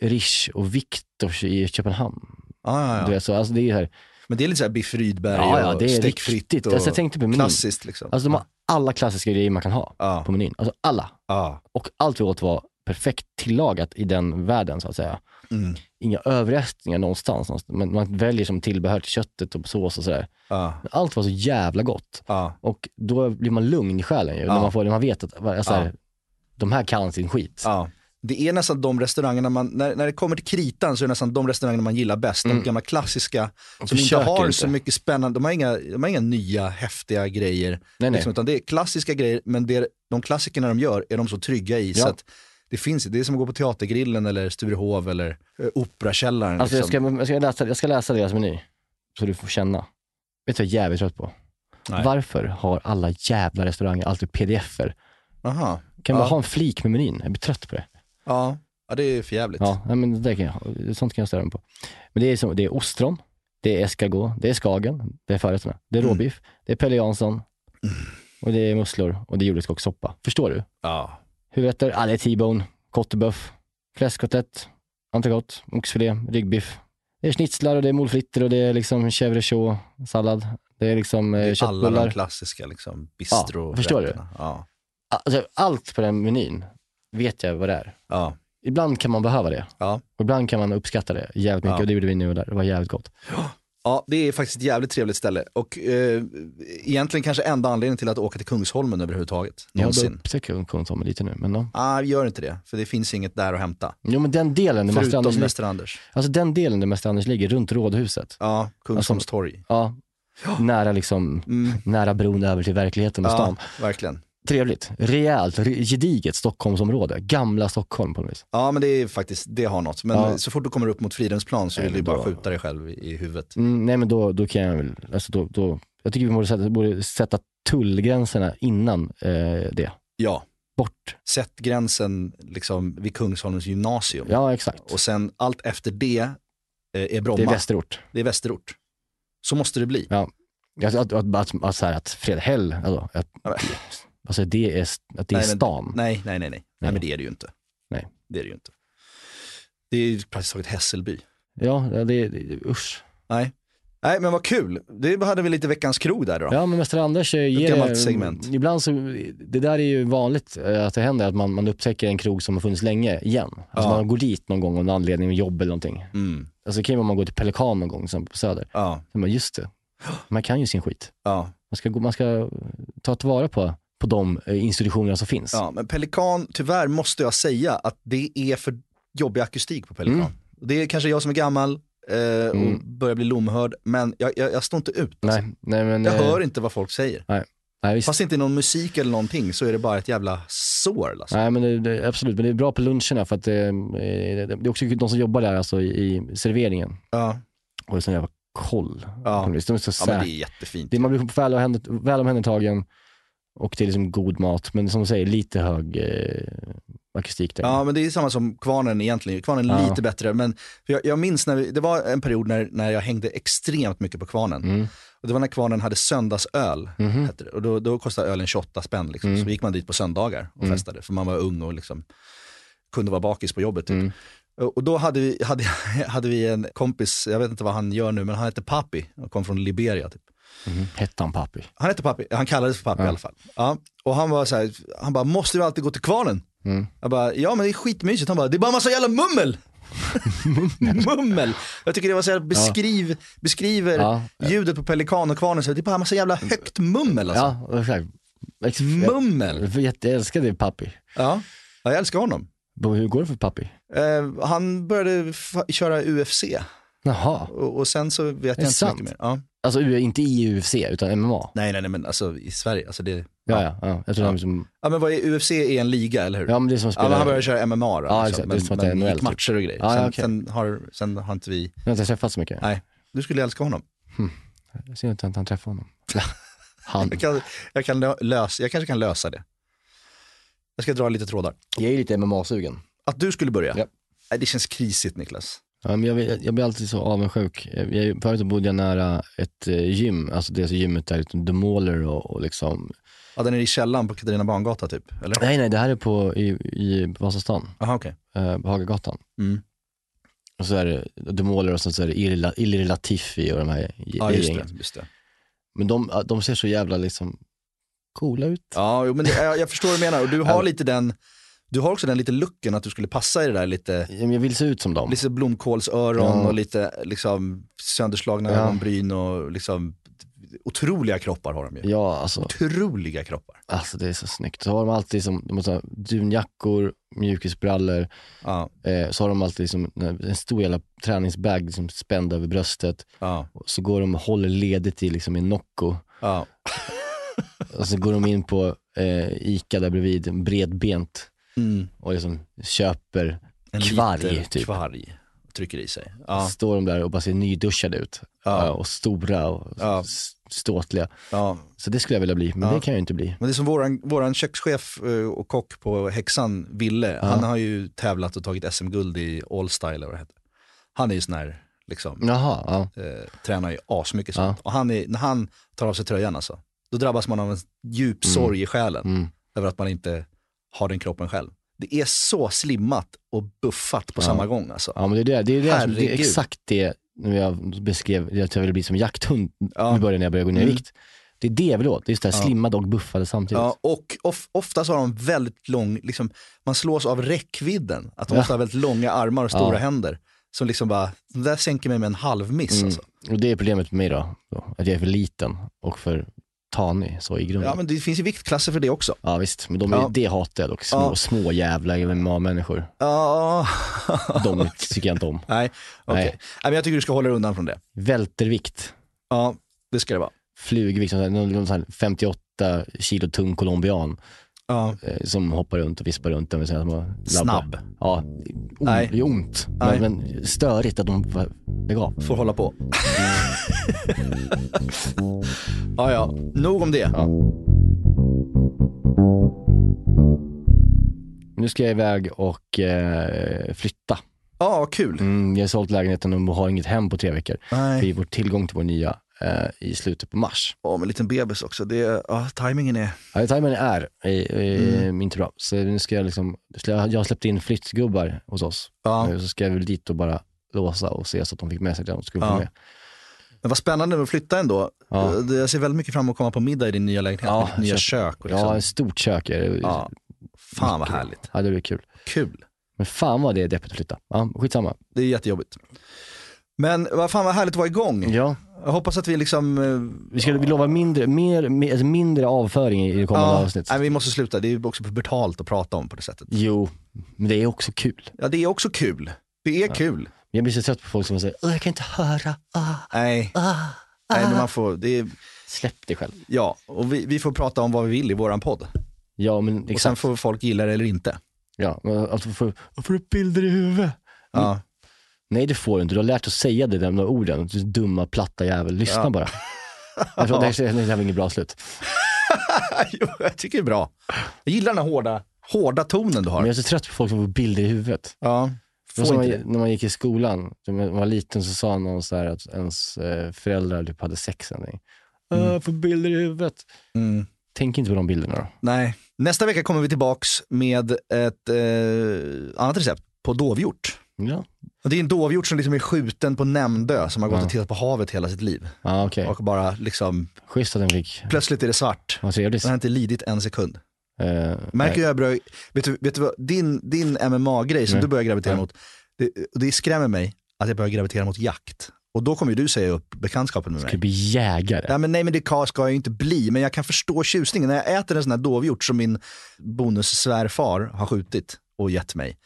D: Rish och Viktors i Köpenhamn.
G: Ja, ja, ja.
D: Du vet, så, alltså det är ju här,
G: Men det är lite så här biff Rydberg
D: ja, ja,
G: och
D: det är
G: stekfritt
D: riktigt.
G: och
D: Alltså jag tänkte på menyn.
G: klassiskt liksom.
D: Alltså de har alla klassiska grejer man kan ha
G: ja.
D: på menyn. Alltså alla.
G: Ja.
D: Och allt vi åt var perfekt tillagat i den världen så att säga.
G: Mm.
D: Inga överraskningar någonstans. någonstans. Men man väljer som tillbehör till köttet och sås och sådär.
G: Ja.
D: Men Allt var så jävla gott.
G: Ja.
D: Och då blir man lugn i själen ju.
G: Ja.
D: När man, får, när man vet att alltså, här, de här kan sin skit.
G: Ja. Det är nästan de restaurangerna man, när, när det kommer till kritan så är det nästan de restaurangerna man gillar bäst. De gamla klassiska som inte
D: Mm. försöker
G: har
D: inte.
G: så mycket spännande, de har inga, de har inga nya häftiga grejer.
D: nej, nej.
G: Liksom, utan det är klassiska grejer, men det, de klassikerna de gör är de så trygga i.
D: Ja.
G: Så att det, finns, det är som att gå på Teatergrillen eller Sturehov eller eh, Operakällaren.
D: Alltså jag
G: liksom.
D: ska, jag, ska läsa, jag ska läsa deras meny, så du får känna. Vet du vad jag är jävligt trött på?
G: Nej.
D: Varför har alla jävla restauranger alltid pdf-er?
G: Aha.
D: Kan man
G: Ja.
D: bara ha en flik med menyn? Jag blir trött på det.
G: Ja. ja, det är för jävligt.
D: Ja, nej, men det där kan jag, ha. sånt kan jag störa mig på. Men det är, som, det är ostron, det är escargot, det är skagen, det är förrätterna, det är
G: Mm.
D: råbiff, det är Pelle Jansson, och det är musslor och det är jordgubbskockssoppa. Förstår du?
G: Ja.
D: Huvudrätter, ja det är T-bone, kottebuff, fläskkotlett, entrecote, oxfilé, ryggbiff. Det är schnitzlar och det är moules frites och det är liksom chèvre chaud, sallad. Det är liksom eh,
G: Alla de
D: köttbullar.
G: klassiska liksom, bistro
D: förstår du?
G: Ja.
D: Alltså, allt på den menyn vet jag vad det är.
G: Ja.
D: Ibland kan man behöva det.
G: Ja.
D: Och ibland kan man uppskatta det jävligt mycket
G: Ja.
D: och det gjorde vi nu och där. Det var jävligt gott.
G: Ja, det är faktiskt ett jävligt trevligt ställe och eh, egentligen kanske enda anledningen till att åka till Kungsholmen överhuvudtaget.
D: Jag
G: Någonsin.
D: upptäcker Kungsholmen lite nu, men ja.
G: Ah, gör inte det, för det finns inget där att hämta.
D: Jo men den delen där Mäster
G: Förutom
D: Anders,
G: Mäster Anders.
D: alltså den delen där Mäster Anders ligger, runt Rådhuset.
G: Ja,
D: Alltså,
G: Kungsholms torg.
D: Ja. Nära liksom, nära bron över till verkligheten och
G: Mm. Ja,
D: stan.
G: verkligen.
D: Trevligt, rejält, re- gediget Stockholmsområde. Gamla Stockholm på något vis.
G: Ja, men det är faktiskt, det har något. Men
D: Ja.
G: så fort du kommer upp mot Fridhemsplan så
D: Nej,
G: vill du
D: men
G: bara
D: då-
G: skjuta dig själv i- i huvudet.
D: Mm, nej men då, då kan jag väl, alltså då, då, jag tycker vi borde sätta, borde sätta tullgränserna innan eh, det.
G: Ja,
D: Bort.
G: sätt gränsen liksom vid Kungsholmens gymnasium.
D: Ja exakt.
G: Och sen allt efter det eh, är Bromma.
D: det är västerort.
G: västerort. Så måste det bli.
D: Ja. Alltså, att, att, att, att, så här, att Fredhäll, alltså, att,
G: men-
D: alltså det är, att det är
G: Nej, men-
D: stan.
G: Nej, nej, nej, nej. Nej, men det är det ju inte.
D: Nej.
G: Det är det ju inte. Det är ju praktiskt taget Hässelby.
D: Ja, ja, det, det usch.
G: Nej. Nej, men vad kul. Det hade vi lite veckans krog där då.
D: Ja, men Mäster Anders eh, ger...
G: gammalt segment.
D: Ibland så, det där är ju vanligt eh, att det händer, att man, man upptäcker en krog som har funnits länge igen. Alltså
G: Ja.
D: man går dit någon gång av en anledning, med jobb eller någonting.
G: Mm.
D: Alltså det kan ju vara om man går till Pelikan någon gång som på Söder.
G: Ja,
D: Men just det, man kan ju sin skit.
G: ja,
D: Man ska, gå- man ska ta tillvara på, på de eh, institutionerna som finns.
G: ja, men Pelikan, tyvärr måste jag säga att det är för jobbig akustik på Pelikan.
D: Mm.
G: Det är kanske jag som är gammal eh, och
D: Mm.
G: börjar bli lomhörd, men jag, jag, jag står inte ut. Alltså.
D: Nej, nej men...
G: Jag
D: eh,
G: hör inte vad folk säger.
D: Nej, visst.
G: Fast det inte är någon musik eller någonting så är det bara ett jävla sår. Alltså.
D: Nej, men det, det, absolut. Men det är bra på luncherna för att eh, det, det är också de som jobbar där alltså, i, i serveringen.
G: Ja.
D: Och det är sån jävla koll.
G: Ja.
D: De är så
G: ja,
D: säkra.
G: men det är jättefint.
D: det, man blir väl, omhänder- väl omhändertagen och det är liksom god mat. Men som du säger, lite hög eh, akustik där.
G: Ja, men det är samma som Kvarnen egentligen. Kvarnen är
D: typ Ja.
G: lite bättre, men för jag, jag minns när vi, det var en period när, när jag hängde extremt mycket på Kvarnen.
D: Mm.
G: Och det var när Kvarnen hade söndagsöl,
D: Mhm.
G: hette det. och då, då kostade ölen 28 spänn. Liksom.
D: Mm.
G: Så gick man dit på söndagar och
D: Mm.
G: festade, för man var ung och liksom, kunde vara bakis på jobbet. Typ.
D: Mm.
G: Och och då hade vi, hade, hade vi en kompis, jag vet inte vad han gör nu, men han hette Papi och kom från Liberia. Typ.
D: Mhm. Hette han pappi?
G: Han hette Pappi, han kallades för Pappi i alla fall. Ja. Och han var så här, han bara, måste vi alltid gå till Kvarnen?
D: Mm.
G: Jag bara, ja men det är skitmysigt. Han bara, det är bara massa jävla mummel! mummel! Jag tycker det var så här, beskriv, beskriver
D: Ja.
G: ljudet på Pelikan och Kvarnen, så här, det är bara massa jävla högt mummel alltså.
D: Ja, exakt. Ex-
G: Mummel!
D: Jag, jag älskar det pappi.
G: Ja. ja, jag älskar honom.
D: Hur går det för pappi?
G: Eh, han började fa- köra UFC
D: Jaha,
G: och, och sen så vet jag
D: det
G: inte så
D: sant?
G: mycket mer. Ja.
D: alltså U- inte i UFC utan MMA.
G: Nej, nej, nej, men alltså i Sverige, alltså det...
D: Ja, ja, ja. Jag tror
G: Ja.
D: han liksom,
G: Ja, men vad är UFC är en liga, eller hur?
D: ja men det är som
G: Ja, men han
D: spelar,
G: började köra MMA då.
D: Ja,
G: alltså.
D: exakt. Det är som
G: Men,
D: att det är
G: men
D: NHL,
G: gick matcher och grejer.
D: typ. Ja, ja,
G: sen,
D: okej.
G: sen, har, sen har inte vi...
D: jag har inte träffat så mycket.
G: Du skulle älska honom.
D: Jag ser inte att han träffar honom. Han.
G: Jag, kan, jag, kan lö- lösa, jag kanske kan lösa det. Jag ska dra lite trådar.
D: Jag är lite MMA-sugen.
G: Att du skulle börja?
D: Ja.
G: Nej, det känns krisigt Niklas.
D: Ja, men jag, vill- jag blir alltid så avundsjuk. Jag, jag- förut så bodde jag nära ett eh, gym, alltså det gymmet där utom The Mauler och, och liksom.
G: Ja, den är i källaren på Katarina Barngata typ, eller?
D: Nej, nej, det här är på i, i Vasastan,
G: Jaha, okej.
D: eh, på Hagagatan.
G: Mm.
D: Och så är det The Mauler och så, så är det Irla, Ilri Latifi och de här ge-
G: Ja, just
D: gängen.
G: det. Just det.
D: Men de, de ser så jävla liksom coola ut.
G: Ja, jo, men det, jag, jag förstår vad du menar. Och du
D: Ja.
G: har lite den, du har också den lite lucken att du skulle passa i det där lite,
D: Ja, men Jag vill se ut som dem.
G: lite blomkålsöron
D: Ja.
G: och lite liksom sönderslagna
D: Ja.
G: ögonbryn och liksom otroliga kroppar har de ju.
D: Ja, alltså.
G: Otroliga kroppar.
D: Alltså det är så snyggt. Så har de alltid som, de har så här dunjackor, mjukisbrallor,
G: Ja,
D: eh, så har de alltid som en stor jävla träningsbag liksom spänd över bröstet.
G: ja,
D: Och Så går de och håller ledigt i liksom en Nocco.
G: ja.
D: Och så går de in på eh, Ica där bredvid, bredbent,
G: Mm.
D: och liksom köper,
G: En
D: Kvarg,
G: liter
D: typ.
G: Kvarg, trycker i sig. Ja,
D: står de där och bara ser nyduschade ut.
G: Ja.
D: Ja, och stora och
G: Ja.
D: s- ståtliga.
G: ja.
D: Så det skulle jag vilja bli, men
G: Ja.
D: det kan jag ju inte bli.
G: Men det är som våran, våran kökschef eh, och kock på Häxan, Ville, han har ju tävlat och tagit SM-guld i Allstyle eller vad det heter. Han är ju sån här, liksom,
D: Jaha, ja.
G: eh, tränar ju asmycket sånt. Och han är, när han tar av sig tröjan alltså, då drabbas man av en djup sorg i själen
D: Mm.
G: över att man inte har den kroppen själv. Det är så slimmat och buffat på samma gång alltså.
D: Ja men det är det, det, är det, som, det
G: Herregud.
D: är exakt det när jag beskrev att jag ville bli som jakthund
G: Ja.
D: i början när jag började gå ner i
G: Mm.
D: vikt. Det är det jag vill åt, det är just det här
G: Ja.
D: slimmade och buffade samtidigt.
G: Ja, och of, oftast har de väldigt lång, liksom, man slås av räckvidden. Att de
D: Ja.
G: ofta har väldigt långa armar och stora
D: Ja.
G: händer. som liksom bara, det där sänker mig med en halv miss
D: Mm.
G: alltså.
D: Och det är problemet med mig då, då, att jag är för liten och för tanig så i grunden.
G: Ja
D: Ja,
G: men det finns ju viktklasser för det också.
D: visst, men de är,
G: Ja.
D: det hatar jag dock. Små,
G: Ja.
D: små jävla MMA-människor.
G: Ja,
D: De tycker jag inte om.
G: nej, okej.
D: Nej.
G: Nej, men jag tycker du ska hålla dig undan från det.
D: Vältervikt,
G: Ja, det ska det vara.
D: flugvikt, sån här- någon, någon sån här 58 kilo tung colombian
G: Ja,
D: eh, som hoppar runt och vispar runt. Och sen bara labbar.
G: Snabb.
D: Ja, on,
G: Nej.
D: det är ont.
G: Nej.
D: Men, men störigt att de bara, lägg av.
G: får hålla på. ja, ja, nog om det.
D: Nu ska jag iväg och eh, flytta.
G: Ja, vad kul.
D: Mm, jag har sålt lägenheten och har inget hem på tre veckor.
G: Nej.
D: Vi får tillgång till vår nya eh, i slutet på mars.
G: Ja, med en liten bebis också. Det, ja, timingen är...
D: Ja, timern är eh,
G: Mm.
D: eh, inte bra. Så nu ska jag liksom, jag har släppt in flyttgubbar hos oss.
G: Ja.
D: Eh, Så ska jag väl dit och bara låsa och se så att de fick med sig det de skulle
G: Ja.
D: få med.
G: Men vad spännande med att flytta ändå.
D: Ja.
G: Det- Jag ser väldigt mycket fram emot att komma på middag i din nya lägenhet.
D: Ja,
G: med ditt nya
D: så-
G: kök. Och liksom.
D: Ja, ett stort kök är det.
G: Ja. Fan vad härligt.
D: Ja, det blir kul.
G: Kul.
D: Men fan vad det är deppigt att flytta. Ja, skitsamma.
G: Det är jättejobbigt. Men vad fan vad härligt att vara igång.
D: Ja,
G: Jag hoppas att vi liksom... eh,
D: vi, ska, vi lovar mindre, mer, mer, alltså mindre avföring i det kommande
G: ja,
D: avsnittet.
G: nej, vi måste sluta. Det är ju också betalt att prata om på det sättet.
D: Jo, men det är också kul.
G: Ja, det är också kul. Det är kul.
D: Jag blir så trött på folk som säger "Åh, jag kan inte höra, ah,
G: Nej,
D: ah.
G: nej men man får... Det är,
D: Släpp dig själv.
G: ja, och vi, vi får prata om vad vi vill i våran podd.
D: Ja, men
G: Och sen
D: exakt.
G: får folk gilla det eller inte.
D: Ja, men alltså, får, får du bilder i huvudet?
G: Ja.
D: Mm. Nej, det får du inte. Du har lärt dig att säga det där med de orden. Du dumma, platta jävel. Lyssna
G: Ja.
D: bara. Jag tror, det, här, det här var inget bra slut.
G: Jo, jag tycker det är bra. Jag gillar den här hårda, hårda tonen du
D: Men jag
G: har.
D: är så trött på folk som får bilder i huvudet.
G: Ja,
D: Det
G: får
D: var som
G: inte
D: man,
G: det.
D: när man gick i skolan, när man var liten så sa någon så här att ens eh, föräldrar typ hade sex eller någonting. Mm. Jag får bilder i huvudet.
G: Mm.
D: Tänk inte på de bilderna då.
G: Nej. Nästa vecka kommer vi tillbaks med ett eh, annat recept på dovhjort.
D: Ja,
G: Och det är en dovhjort som liksom är skjuten på Nämndö som har gått
D: Ja.
G: och tittat på havet hela sitt liv.
D: ah, okej.
G: Och bara liksom,
D: Schysst att den fick.
G: plötsligt är det svart.
D: Vad trevligt.
G: Den har inte lidit en sekund.
D: Eh,
G: Mm. Märker
D: nej.
G: jag börjar, vet du, vet du vad, din, din MMA-grej som
D: Nej.
G: du börjar gravitera
D: Nej.
G: mot, det, och det skrämmer mig att jag börjar gravitera mot jakt. Och då kommer ju du säga upp bekantskapen med mig.
D: Ska du bli jägare?
G: Nej men, nej men det ka- ska jag ju inte bli, men jag kan förstå tjusningen. När jag äter en sån här dovhjort som min bonussvärfar har skjutit och gett mig,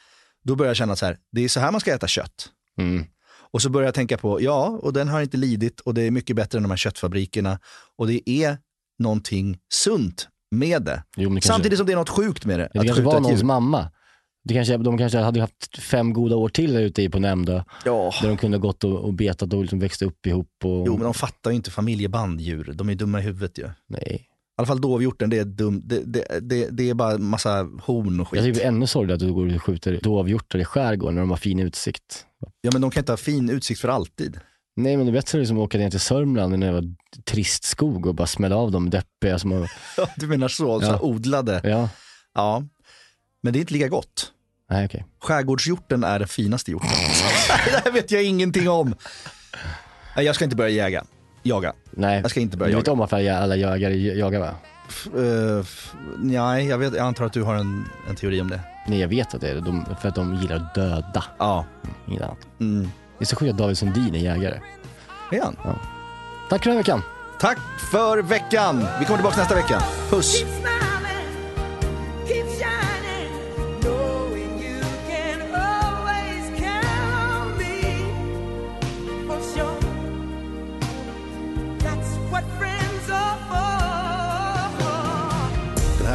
G: då börjar jag känna att så här, det är så här man ska äta kött.
D: Mm.
G: Och så börjar jag tänka på, ja, och den har inte lidit och det är mycket bättre än de här köttfabrikerna. Och det är någonting sunt med det.
D: Jo, men det kanske-
G: Samtidigt som det är något sjukt med det.
D: Ja, Det kanske var någons mamma. Det kanske, de kanske hade haft fem goda år till där ute i på Nämndö.
G: Ja.
D: Där de kunde ha gått och, och betat och liksom växt upp ihop. Och,
G: Jo, men de fattar ju inte familjeband djur. De är dumma i huvudet ju. I
D: Nej.
G: alla fall dovhjorten, det är dumt. Det, det, det, det är bara massa horn och
D: Jag tycker
G: skit.
D: det är ännu sorgligare att du går och skjuter dovhjortar i skärgården när de har fin utsikt.
G: Ja, men de kan inte ha fin utsikt för alltid.
D: Nej men det är bättre att liksom åka ner till Sörmland i var trist skog och bara smälla av dem deppiga som har,
G: Ja, du menar så, så här odlade.
D: ja,
G: Ja. Men det är inte lika gott.
D: nej okej.
G: Skärgårdshjorten är den finaste hjorten. det här vet jag ingenting om. Nej, jag ska inte börja jäga. Jaga.
D: Nej.
G: Jag ska inte börja
D: Du vet
G: jaga.
D: om varför alla jägare jagar va?
G: F- eh, f- nej, jag, vet, jag antar att du har en, en teori om det.
D: Nej jag vet att det är det. de, för att de gillar att döda.
G: Ja.
D: Inget annat.
G: Mm.
D: Det är så sjukt att David Sundin är jägare.
G: Är han?
D: Tack för den här veckan.
G: Tack för veckan. Vi kommer tillbaka nästa vecka. Puss.
H: Keep smiling, keep shining, knowing you can always count on me for sure. That's what friends are for.
J: Den